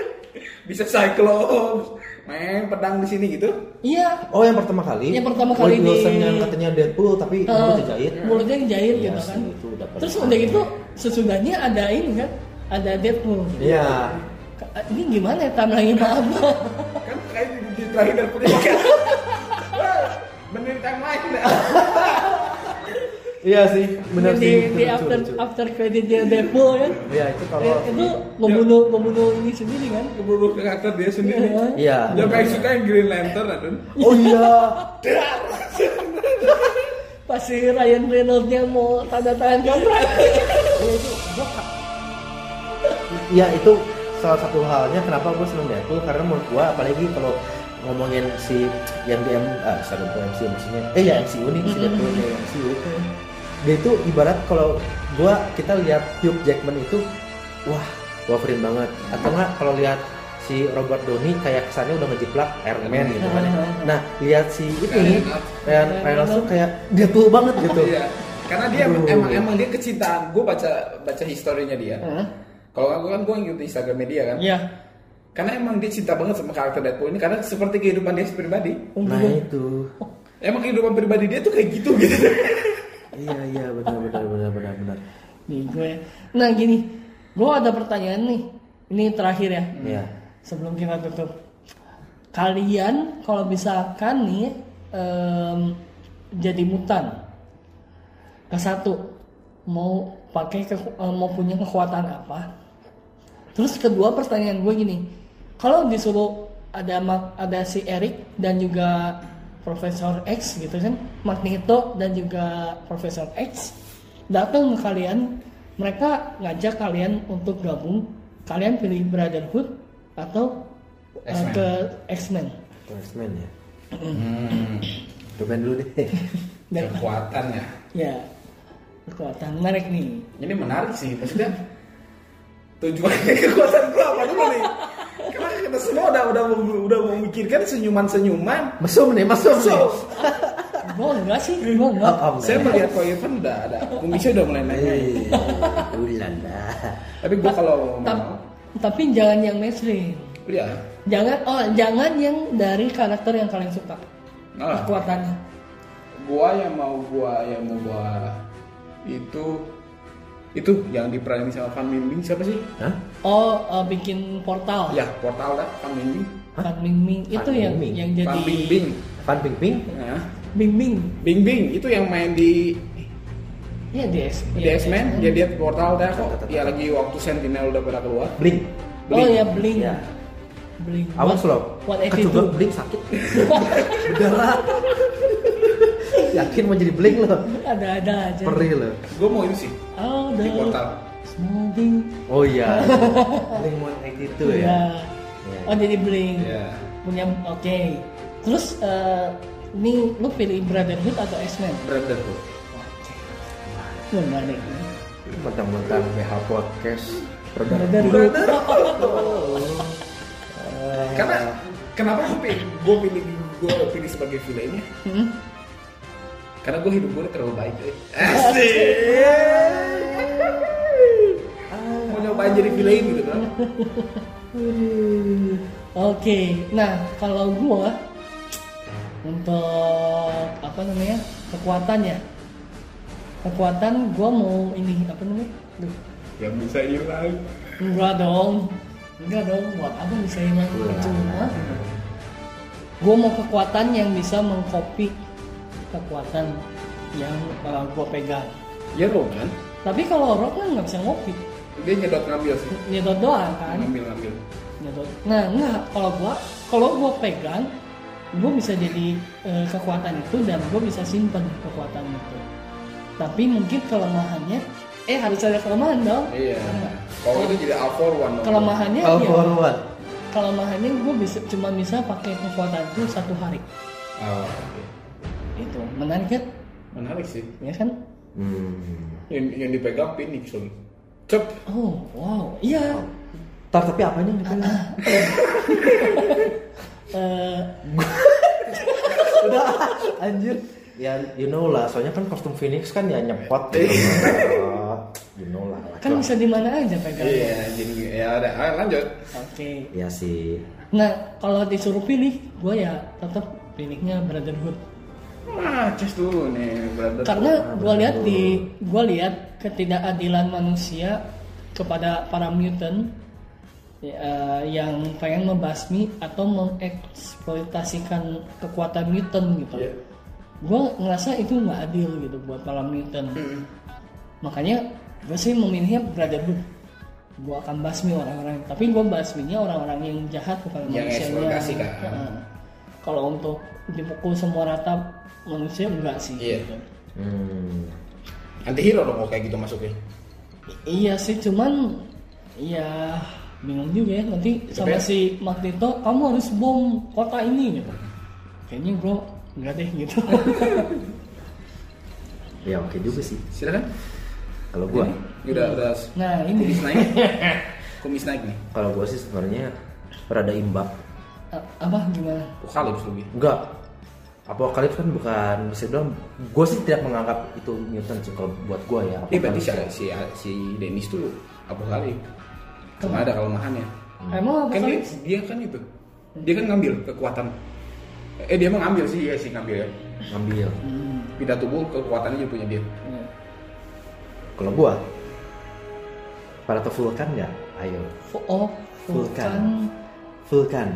Speaker 4: bisa cyclops main pedang di sini gitu
Speaker 1: iya
Speaker 3: Oh, yang pertama kali.
Speaker 1: Yang pertama
Speaker 3: Wade
Speaker 1: kali di-
Speaker 3: Wilson yang katanya Deadpool tapi
Speaker 1: Eh,
Speaker 3: mulutnya jahit.
Speaker 1: mulutnya jahit
Speaker 3: Iya
Speaker 1: gitu
Speaker 3: sih,
Speaker 1: kan
Speaker 3: itu udah
Speaker 1: terus
Speaker 3: pernah.
Speaker 1: udah gitu sesudahnya ada ini kan ada Deadpool
Speaker 3: Iya.
Speaker 1: Ka- ini gimana ya timeline-nya apa
Speaker 4: kan kayak di- di terakhir dari pendidikan menentang lain lah
Speaker 3: Iya sih, benar
Speaker 1: di,
Speaker 3: sih.
Speaker 1: di
Speaker 3: Lucu,
Speaker 1: after
Speaker 3: lucu.
Speaker 1: after creditnya Deadpool kan
Speaker 3: Iya, itu kalau
Speaker 1: Eh, itu membunuh membunuh ini sendiri kan
Speaker 4: keburu karakter dia sendiri
Speaker 1: Iya.
Speaker 3: Iya.
Speaker 4: yang paling suka yang Green Lantern Adun
Speaker 3: Oh iya.
Speaker 1: pas si Ryan Reynolds-nya mau tanda tangan kontrak
Speaker 3: Iya, itu salah satu halnya kenapa gue seneng Deadpool karena menurut gue apalagi kalau ngomongin si yang di M ah sorry, bukan MCU maksudnya eh ya MCU nih si Deadpool ya MCU dia itu ibarat kalau gua kita lihat Hugh Jackman itu wah Wolverine banget atau enggak kalau lihat si Robert Downey kayak kesannya udah ngejiplak Iron Man gitu kan ya. nah lihat si ini Ryan Reynolds tuh kayak Deadpool banget gitu
Speaker 4: Iya. Karena dia emang,
Speaker 3: Aduh.
Speaker 4: emang emang dia kecintaan. Gue baca baca historinya dia.
Speaker 1: Hah?
Speaker 4: Kalau gue kan gue ngikutin Instagramnya dia kan.
Speaker 3: Iya.
Speaker 1: ya
Speaker 4: Karena emang dia cinta banget sama karakter Deadpool ini karena seperti kehidupan dia pribadi.
Speaker 3: nah itu
Speaker 4: Emang kehidupan pribadi dia tuh kayak gitu gitu.
Speaker 3: iya iya benar benar benar benar benar
Speaker 1: nih gue nah gini gue ada pertanyaan nih ini terakhir ya
Speaker 3: iya
Speaker 1: sebelum kita tutup kalian kalau misalkan nih em, jadi mutan ke satu mau pakai ke- eh, mau punya kekuatan apa terus kedua pertanyaan gue gini kalau disuruh ada Ma- ada si Eric dan juga Profesor X gitu kan Magneto dan juga Profesor X datang ke kalian mereka ngajak kalian untuk gabung kalian pilih Brotherhood atau eh,
Speaker 4: X-Men.
Speaker 1: ke X-Men
Speaker 3: X-Men ya Cobain dulu deh.
Speaker 1: dan
Speaker 4: Kekuatannya.
Speaker 1: ya kekuatan menarik nih
Speaker 4: Ini menarik sih maksudnya. Tujuannya kekuatan gue apa dulu nih? Karena kita semua udah udah udah memikirkan senyuman-senyuman.
Speaker 3: Masuk nih, masuk nih.
Speaker 4: So,
Speaker 1: gue enggak sih gue enggak
Speaker 4: saya melihat kau Irfan udah ada. Kumisnya udah mulai naik. naik.
Speaker 3: Eh, Ulala.
Speaker 4: Tapi gue kalau
Speaker 1: Ta-
Speaker 4: mau,
Speaker 1: tapi jangan yang mainstream
Speaker 4: iya.
Speaker 1: jangan oh jangan yang dari karakter yang kalian suka
Speaker 4: Nah,
Speaker 1: kekuatannya
Speaker 4: gua yang mau gua yang mau gua itu itu yang diperanin sama Fan Bingbing siapa sih?
Speaker 3: Hah?
Speaker 1: oh eh, bikin portal
Speaker 4: Ya portal dah Fan Bingbing.
Speaker 1: Fan Bingbing itu
Speaker 3: Fan
Speaker 1: yang
Speaker 3: Bingbing.
Speaker 1: yang
Speaker 4: Fan
Speaker 1: jadi
Speaker 4: Bingbing.
Speaker 3: Fan Ping Ping?
Speaker 4: Nah,
Speaker 1: Bingbing
Speaker 4: Bingbing itu yang main di
Speaker 1: ya di X
Speaker 4: di X-Men Iya, dia dia portal dah kok. Ya lagi waktu Sentinel udah pada keluar.
Speaker 3: Blink.
Speaker 1: oh
Speaker 4: Blink.
Speaker 1: ya Bling
Speaker 4: Iya.
Speaker 3: Ya.
Speaker 1: Bling
Speaker 3: Awas lo.
Speaker 1: What
Speaker 3: Kecoba
Speaker 1: attitude
Speaker 3: Blink sakit. Berdarah. Yakin mau jadi Blink lo?
Speaker 1: ada ada aja
Speaker 3: Perih lo.
Speaker 4: Gua mau itu sih
Speaker 1: oh
Speaker 4: di portal.
Speaker 1: Smoothing
Speaker 3: Oh iya. Blink mau itu ya.
Speaker 1: ya
Speaker 4: Iya.
Speaker 1: oh jadi Bling
Speaker 4: Ya.
Speaker 1: punya oke terus eh, ini lu pilih Brotherhood atau X-Men
Speaker 4: Brotherhood.
Speaker 1: menarik
Speaker 3: Mentang-mentang PH Podcast.
Speaker 1: Brotherhood Iya.
Speaker 4: Karena kenapa gua pilih gua pilih gua pilih sebagai villainnya?
Speaker 1: Hmm?
Speaker 4: Karena gua hidup gua terlalu baik. eh. Asik. mau nyobain jadi villain gitu kan?
Speaker 1: Oke, nah kalau gua untuk apa namanya kekuatannya, kekuatan gua mau ini apa namanya? Duh,
Speaker 4: yang bisa hilang
Speaker 1: enggak dong, enggak dong. Buat apa bisa hilang
Speaker 3: Wah.
Speaker 1: percuma? Gua mau kekuatan yang bisa mengcopy kekuatan yang uh, gua pegang.
Speaker 4: ya lo kan
Speaker 1: Tapi kalau rock kan nggak bisa ngopi,
Speaker 4: dia nyedot ngambil sih
Speaker 1: nyedot doang kan.
Speaker 4: ngambil ngambil
Speaker 1: Nyedot. Nah, enggak. Kalau gua, kalau gua pegang, gua bisa jadi eh, kekuatan itu dan gua bisa simpen kekuatan itu. Tapi mungkin kelemahannya, eh harus ada kelemahan dong. Nah,
Speaker 4: iya kalau itu jadi all for one dong.
Speaker 1: Kelemahannya
Speaker 3: All
Speaker 1: ya,
Speaker 3: for what?
Speaker 1: kelemahannya gue bisa cuma bisa pakai kekuatan itu satu hari
Speaker 4: Oh, oke.
Speaker 1: itu menarik kan
Speaker 4: Menarik sih.
Speaker 1: ya kan
Speaker 3: Hmm.
Speaker 4: Yang, yang dipegang Phoenix dong. Cep.
Speaker 1: oh wow iya
Speaker 3: Tar, tapi apanya yang dipegang?
Speaker 1: Eh,
Speaker 3: Udah, anjir. Ya, you know lah. Soalnya kan kostum Phoenix kan ya nyepot gitu. Eh, you know lah.
Speaker 1: kan bisa di mana aja pegang
Speaker 4: Iya, jadi ya ada. Ayo lanjut.
Speaker 1: oke
Speaker 3: Ya sih.
Speaker 1: nah kalau disuruh pilih gue ya tetap pilihnya Brotherhood
Speaker 4: Wah, cus Ah, dulu nih, brother.
Speaker 1: karena gue lihat di gue lihat ketidakadilan manusia kepada para mutant ya, eh, yang pengen membasmi atau mengeksploitasikan kekuatan mutant gitu
Speaker 4: Iya.
Speaker 1: gue ngerasa itu nggak adil gitu buat para mutant makanya gue sih memilihnya Brotherhood gue akan basmi orang-orang tapi gue basminya orang-orang yang jahat bukan
Speaker 4: Yang
Speaker 1: manusianya
Speaker 4: eksploitasi kan.
Speaker 1: Heeh. kalau untuk dipukul semua rata manusia enggak sih
Speaker 4: Iya.
Speaker 1: gitu.
Speaker 3: Hmm.
Speaker 4: Anti hero dong kalau kayak gitu masuknya.
Speaker 1: Iya sih, cuman ya bingung juga ya nanti sama
Speaker 4: ya.
Speaker 1: si Magneto kamu harus bom kota ini gitu. Kayaknya bro nggak deh gitu.
Speaker 3: Ya oke juga sih.
Speaker 4: Silakan.
Speaker 3: Kalau gua,
Speaker 4: Udah udah
Speaker 1: nah ini
Speaker 4: kumis naik. kumis naik nih.
Speaker 3: kalau gua sih sebenarnya rada imbang.
Speaker 1: a- apa gimana?
Speaker 4: Kalips lebih.
Speaker 3: Enggak. Apokalips kan bukan bisa bilang gue sih tidak menganggap itu mutant sih kalau buat gue ya.
Speaker 4: Ini berarti si
Speaker 3: Apokalips.
Speaker 4: si si Dennis tuh apa kali? Cuma ada kelemahannya.
Speaker 3: Hmm.
Speaker 1: Emang apa
Speaker 4: Kan
Speaker 1: kali?
Speaker 4: dia, dia kan itu. Dia kan ngambil kekuatan. Eh dia emang ngambil sih, iya sih ngambil ya.
Speaker 3: ngambil.
Speaker 1: Hmm,
Speaker 4: Pindah tubuh kekuatannya jadi punya dia.
Speaker 1: iya.
Speaker 3: Kalau gue, para tuh Vulcan nggak? Ayo,
Speaker 1: Fu- Oh, Vulcan.
Speaker 3: Vulcan. Vulcan.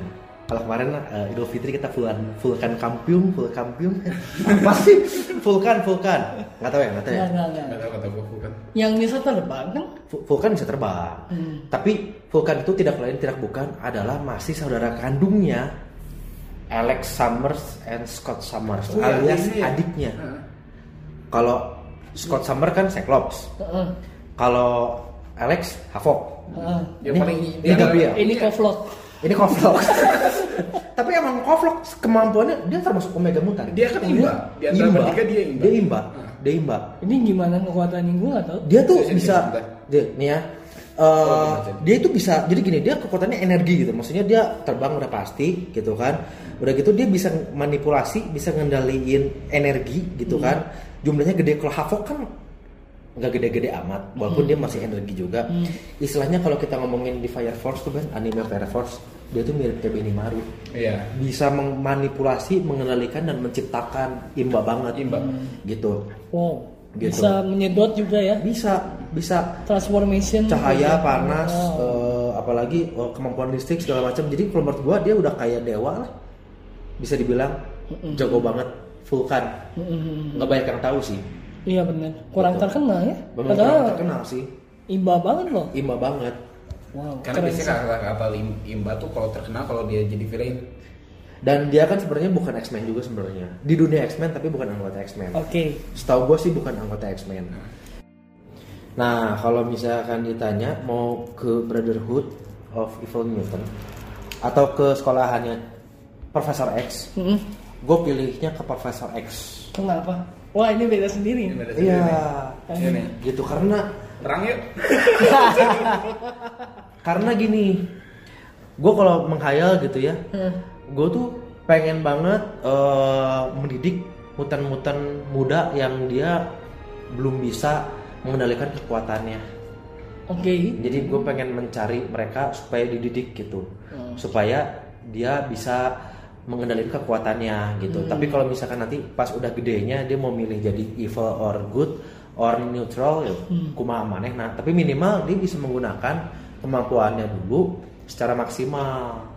Speaker 3: Kalau kemarin eh, Idul Fitri kita Vulcan, Vulcan Kampium, Vulcan Kampium. Apa sih? Vulcan, Vulcan. Nggak tahu ya, nggak tahu ya.
Speaker 1: Nggak, nggak, nggak.
Speaker 4: Kata kata gua bukan.
Speaker 1: Yang bisa terbang kan?
Speaker 3: Vul- Vulcan bisa terbang.
Speaker 1: Hmm.
Speaker 3: Tapi Vulcan itu tidak lain tidak bukan adalah masih saudara kandungnya Alex Summers and Scott Summers
Speaker 4: Oh, iya,
Speaker 3: alias
Speaker 4: iya, iya.
Speaker 3: adiknya.
Speaker 4: Heeh.
Speaker 3: Kalau Scott Summers kan Cyclops.
Speaker 1: Heeh,
Speaker 3: Kalau Alex Havok.
Speaker 1: heeh.
Speaker 4: Yang
Speaker 3: Ini-
Speaker 4: paling
Speaker 3: ini Gabriel.
Speaker 1: Ini kok vlog.
Speaker 3: Ini Kovlok. Tapi emang Kovlok kemampuannya dia termasuk Omega Mutant.
Speaker 4: Dia kan imba. Di antara
Speaker 3: Imba.
Speaker 4: bertiga dia imba.
Speaker 3: Dia imba.
Speaker 4: Nah.
Speaker 3: Dia imba.
Speaker 1: Ini gimana kekuatannya gue atau?
Speaker 3: Dia tuh
Speaker 4: Sini, sini,
Speaker 3: bisa
Speaker 4: sebentar.
Speaker 3: dia nih ya. eh, dia itu bisa jadi gini dia kekuatannya energi gitu maksudnya dia terbang udah pasti gitu kan udah gitu dia bisa manipulasi bisa ngendaliin energi gitu kan jumlahnya gede kalau Havok kan nggak gede-gede amat walaupun dia masih energi juga istilahnya kalau kita ngomongin di Fire Force tuh kan anime Fire Force dia tuh mirip kayak Benimaru
Speaker 4: Iya.
Speaker 3: bisa memanipulasi, mengendalikan dan menciptakan imba banget
Speaker 4: Imba.
Speaker 3: gitu.
Speaker 1: Wow.
Speaker 3: Gitu.
Speaker 1: Bisa menyedot juga ya.
Speaker 3: Bisa bisa
Speaker 1: Transformation.
Speaker 3: cahaya,
Speaker 1: Gitu.
Speaker 3: panas,
Speaker 1: Oh.
Speaker 3: eh, apalagi eh, kemampuan listrik segala macam. Jadi kalau menurut gua dia udah kayak dewa lah. Bisa dibilang jago banget Vulkan.
Speaker 1: Mm-mm.
Speaker 3: Nggak banyak yang tahu sih.
Speaker 1: Iya benar. Kurang
Speaker 3: Betul.
Speaker 1: terkenal ya.
Speaker 3: Memang
Speaker 1: Padahal
Speaker 3: orang terkenal sih.
Speaker 1: imba banget loh.
Speaker 3: Imba banget.
Speaker 1: Wow,
Speaker 4: Karena
Speaker 1: keren
Speaker 4: biasanya
Speaker 1: sih.
Speaker 4: kata kata im- imba tuh kalau terkenal kalau dia jadi villain.
Speaker 3: Dan dia kan sebenarnya bukan X-Men juga sebenarnya. Di dunia X-Men tapi bukan anggota X-Men.
Speaker 1: Oke.
Speaker 3: Setahu gue sih bukan anggota X-Men. Nah, kalau misalkan ditanya mau ke Brotherhood of Evil Mutant atau ke sekolahannya Profesor X,
Speaker 1: Mm-mm.
Speaker 3: gue pilihnya ke Profesor X.
Speaker 1: Kenapa? Wah ini beda sendiri.
Speaker 4: Ini beda sendiri nih.
Speaker 3: Iya,
Speaker 4: Iya nih.
Speaker 3: gitu karena
Speaker 4: Perang yuk.
Speaker 3: karena gini, gue kalau menghayal gitu ya,
Speaker 1: Hmm.
Speaker 3: gue tuh pengen banget eh, mendidik mutan-mutan muda yang dia belum bisa mengendalikan kekuatannya.
Speaker 1: Oke.
Speaker 3: jadi gue pengen mencari mereka supaya dididik gitu supaya dia bisa mengendalikan kekuatannya gitu tapi kalau misalkan nanti pas udah gedenya dia mau milih jadi evil or good or neutral ya kumaha maneh nah tapi minimal dia bisa menggunakan kemampuannya dulu secara maksimal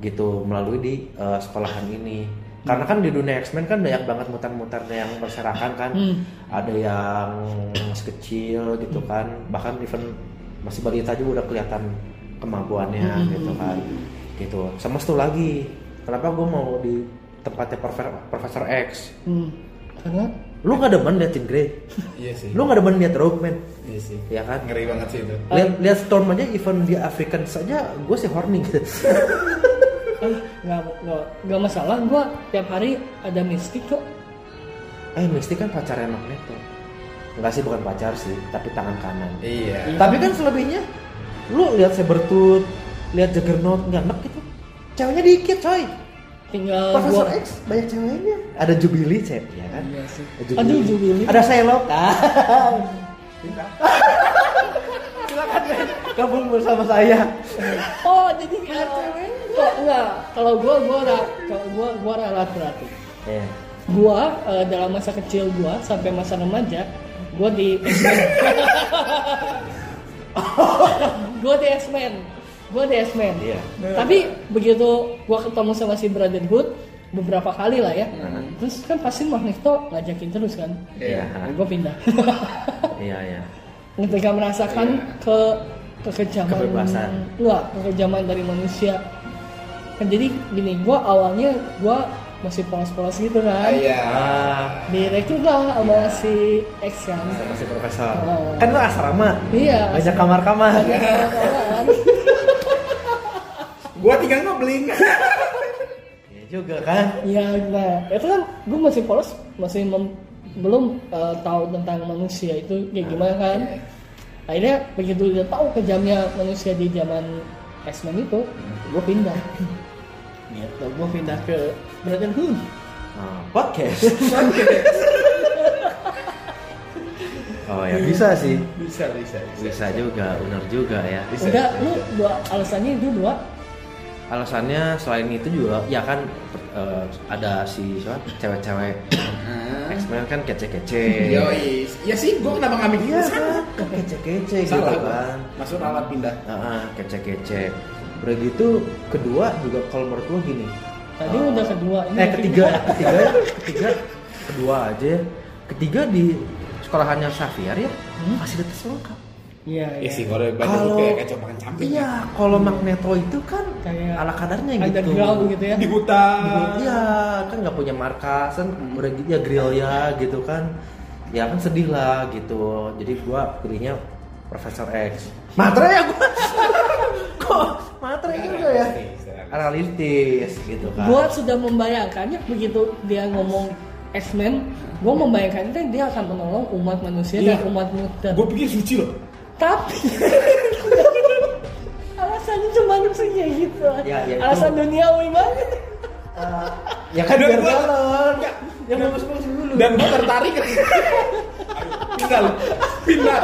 Speaker 3: gitu melalui di eh, sekolahan ini karena kan di dunia X-Men kan banyak banget mutan-mutannya yang berserakan kan
Speaker 1: Hmm.
Speaker 3: ada yang masih kecil gitu kan bahkan even masih balita juga udah kelihatan kemampuannya gitu kan gitu sama satu lagi kenapa gue mau di tempatnya Profe- Profesor X
Speaker 1: Hmm. Karena
Speaker 3: Lu nggak demen liat Jean Grey?
Speaker 4: Iya sih.
Speaker 3: Lu nggak demen liat Rockman?
Speaker 4: Iya sih.
Speaker 3: Iya kan?
Speaker 4: Ngeri banget sih itu.
Speaker 3: Lihat lihat Storm aja even di African saja gue sih horny gitu.
Speaker 1: Eh, nggak nggak- nggak masalah gua tiap hari ada mistik kok
Speaker 3: eh Misty kan pacarnya Magneto. Enggak sih bukan pacar sih, tapi tangan kanan.
Speaker 4: Iya.
Speaker 3: Tapi kan selebihnya lu lihat Sabretooth, lihat Juggernaut nggak enak gitu. Ceweknya dikit coy.
Speaker 1: tinggal
Speaker 3: Profesor
Speaker 1: Eh, gua
Speaker 3: X banyak ceweknya. Ada Jubilee cewek ya kan.
Speaker 1: Iya sih.
Speaker 3: Ada
Speaker 1: Aduh, Jubilee.
Speaker 3: Ada Selok. Silakan men, gabung bersama saya.
Speaker 1: oh jadi kalau kok nggak kalau gua gua ra- kalau gua gua rela berarti
Speaker 3: Iya.
Speaker 1: gua eh, dalam masa kecil gua sampai masa remaja gua di gua di X-Men gua di X-Men
Speaker 3: Iya.
Speaker 1: tapi begitu gua ketemu sama si Brotherhood beberapa kali lah ya terus kan pasti Magneto ngajakin terus kan
Speaker 4: Iya.
Speaker 1: gue pindah
Speaker 3: Iya, iya.
Speaker 1: ketika merasakan
Speaker 4: Iya.
Speaker 1: ke kekejaman
Speaker 3: Kebebasan.
Speaker 1: enggak kekejaman dari manusia kan jadi gini gue awalnya gue masih polos-polos gitu
Speaker 4: Ah,
Speaker 1: kan
Speaker 4: Iya.
Speaker 3: Ah,
Speaker 1: direkrut lah sama si X kan
Speaker 3: sama si profesor.
Speaker 1: Oh.
Speaker 3: Kan lu asrama.
Speaker 1: Iya.
Speaker 3: Banyak kamar-kamar.
Speaker 1: Kan?
Speaker 4: Gua tinggal ngebling.
Speaker 3: Iya juga kan.
Speaker 1: ya nah itu kan gue masih polos masih mem- belum eh, tahu tentang manusia itu kayak gimana
Speaker 3: Ah,
Speaker 1: kan
Speaker 3: iya.
Speaker 1: akhirnya begitu udah tahu kejamnya manusia di zaman X-Men itu
Speaker 3: Hmm.
Speaker 1: gue pindah gitu gue pindah ke Brotherhood
Speaker 3: Nah, podcast. oh ya bisa sih.
Speaker 4: bisa, bisa,
Speaker 3: Bisa juga, benar juga ya.
Speaker 4: Bisa,
Speaker 1: udah
Speaker 4: bisa.
Speaker 1: lu dua alasannya itu dua
Speaker 3: Alasannya selain itu juga ya kan eh, ada si siapa cewek-cewek
Speaker 4: Ah.
Speaker 3: X-Men kan kece-kece.
Speaker 4: Yoi. Iya sih, gua kenapa nggak mikir
Speaker 3: Iya
Speaker 4: ke sana?
Speaker 3: kan kece-kece gitu
Speaker 4: Salah gua.
Speaker 3: kan.
Speaker 4: Masuk ralat pindah.
Speaker 3: Heeh, kece-kece. Udah gitu kedua juga kalau menurut gua gini.
Speaker 1: tadi
Speaker 3: eh,
Speaker 1: udah kedua ini
Speaker 3: eh
Speaker 1: yang
Speaker 3: ketiga ketiga ketiga kedua aja ya. ketiga di sekolahannya Xavier ya fasilitas lengkap
Speaker 1: iya
Speaker 4: Iya
Speaker 1: iya
Speaker 4: sih, kalau baca
Speaker 3: Kalau-
Speaker 4: buku kayak kacau makan camping.
Speaker 3: iya kalau Magneto itu kan
Speaker 1: Kayak
Speaker 3: ala kadarnya gitu
Speaker 1: ada ground gitu ya
Speaker 4: Di hutan.
Speaker 3: iya kan nggak punya markas kan
Speaker 4: Hmm.
Speaker 3: udah gitu ya gerilya gitu kan ya kan sedih lah gitu jadi gua pilihnya Profesor X materai ya gua kok materai
Speaker 4: Nah,
Speaker 3: juga ya realistis gitu kan
Speaker 1: gue sudah membayangkannya begitu dia ngomong X-Men gue membayangkannya kan dia akan menolong umat manusia dan
Speaker 4: Iya.
Speaker 1: umat muda
Speaker 4: Gua pikir suci loh.
Speaker 1: tapi alasannya cuma kayak gitu
Speaker 3: Ya, ya, itu-
Speaker 1: alasan duniawi banget
Speaker 3: Eh, ya kan biar
Speaker 4: Dan gua-
Speaker 3: jalan
Speaker 4: Enggak.
Speaker 3: yang bagus-bagus dulu
Speaker 4: Dan gua tertarik. Ayo, Pindah loh. Pindah.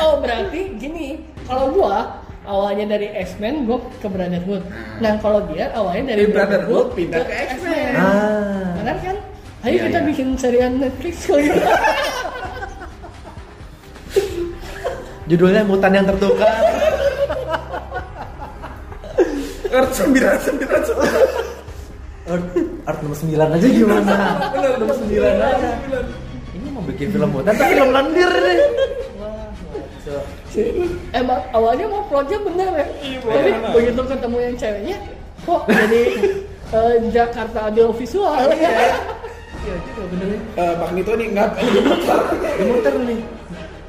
Speaker 1: oh berarti gini kalau gua awalnya dari X-Men gua ke Brotherhood nah kalau dia awalnya dari
Speaker 4: Dari Brotherhood pindah ke X-Men.
Speaker 3: ah
Speaker 1: benar kan ayo
Speaker 3: Iya,
Speaker 1: kita
Speaker 3: iya.
Speaker 1: bikin serial Netflix kalau gitu
Speaker 3: judulnya mutan yang tertukar
Speaker 4: Earth sembilan sembilan sembilan.
Speaker 3: Earth, Earth nomor 9 aja gimana
Speaker 4: Bener, nomor sembilan aja.
Speaker 3: ini mau bikin film mutan tapi film lendir nih wah ngaco.
Speaker 1: emang Eh, awalnya mau plotnya bener ya tapi
Speaker 4: Iya, bener.
Speaker 1: begitu ketemu yang ceweknya kok jadi eh, Jakarta audiovisual ya
Speaker 3: iya juga bener ya
Speaker 4: Eh, Magneto nih enggak.
Speaker 3: Ini muter nih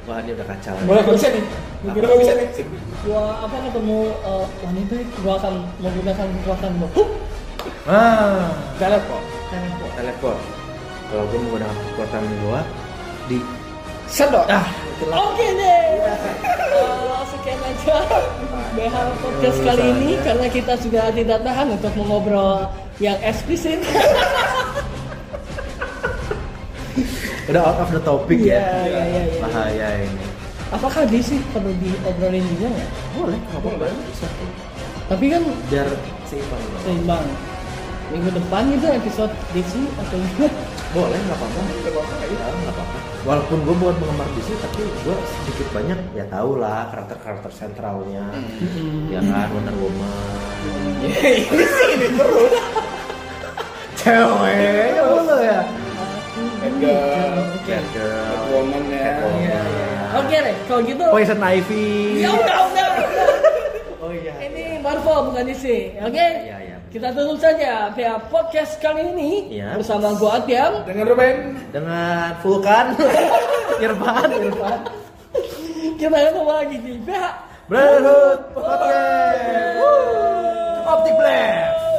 Speaker 3: wah ini udah kacau nih.
Speaker 4: Boleh nggak bisa nih. Udah nggak bisa nih. Sip.
Speaker 1: gua apa ketemu eh, wanita gua akan menggunakan kekuatan gua huh,
Speaker 3: ah
Speaker 4: Telepon.
Speaker 1: karena gua
Speaker 3: teleport kalau gue menggunakan kekuatan gue di
Speaker 4: Sendok.
Speaker 3: ah
Speaker 1: Oke deh. Eh, sekian aja BH podcast
Speaker 4: Iya,
Speaker 1: kali ini karena kita sudah tidak tahan untuk mengobrol yang eksplisit.
Speaker 3: udah out of the topic
Speaker 1: Iya,
Speaker 3: ya
Speaker 1: iya, iya, iya.
Speaker 3: bahaya ini
Speaker 1: Apakah DC perlu diobrolin juga nggak?
Speaker 3: boleh nggak apa-apa bisa
Speaker 1: Tapi kan
Speaker 3: biar seimbang dong.
Speaker 1: seimbang. Minggu depan itu episode DC atau gimana?
Speaker 3: boleh nggak apa-apa Ya, nggak apa-apa walaupun gue bukan penggemar DC tapi gue sedikit banyak ya tau lah karakter karakter sentralnya ya kan Wonder Woman
Speaker 4: Ini sih ini terus.
Speaker 3: cewek ya lo ya
Speaker 4: Edgar.
Speaker 3: Catgirl
Speaker 4: Woman ya.
Speaker 1: Iya,
Speaker 4: Oh, iya.
Speaker 1: Oke deh, kalau gitu.
Speaker 3: Poison Oh, iya, Ivy
Speaker 1: Ya udah udah.
Speaker 3: oh iya
Speaker 1: Ini Marvel bukan DC. Oke.
Speaker 4: Ya,
Speaker 3: iya iya
Speaker 1: Kita tutup saja via podcast kali ini
Speaker 4: Ya.
Speaker 3: Iya.
Speaker 1: bersama gua Atiam.
Speaker 4: Dengan Ruben,
Speaker 3: dengan Vulkan Irfan
Speaker 1: Kita ketemu lagi di pihak
Speaker 3: Brotherhood Podcast Optik Blast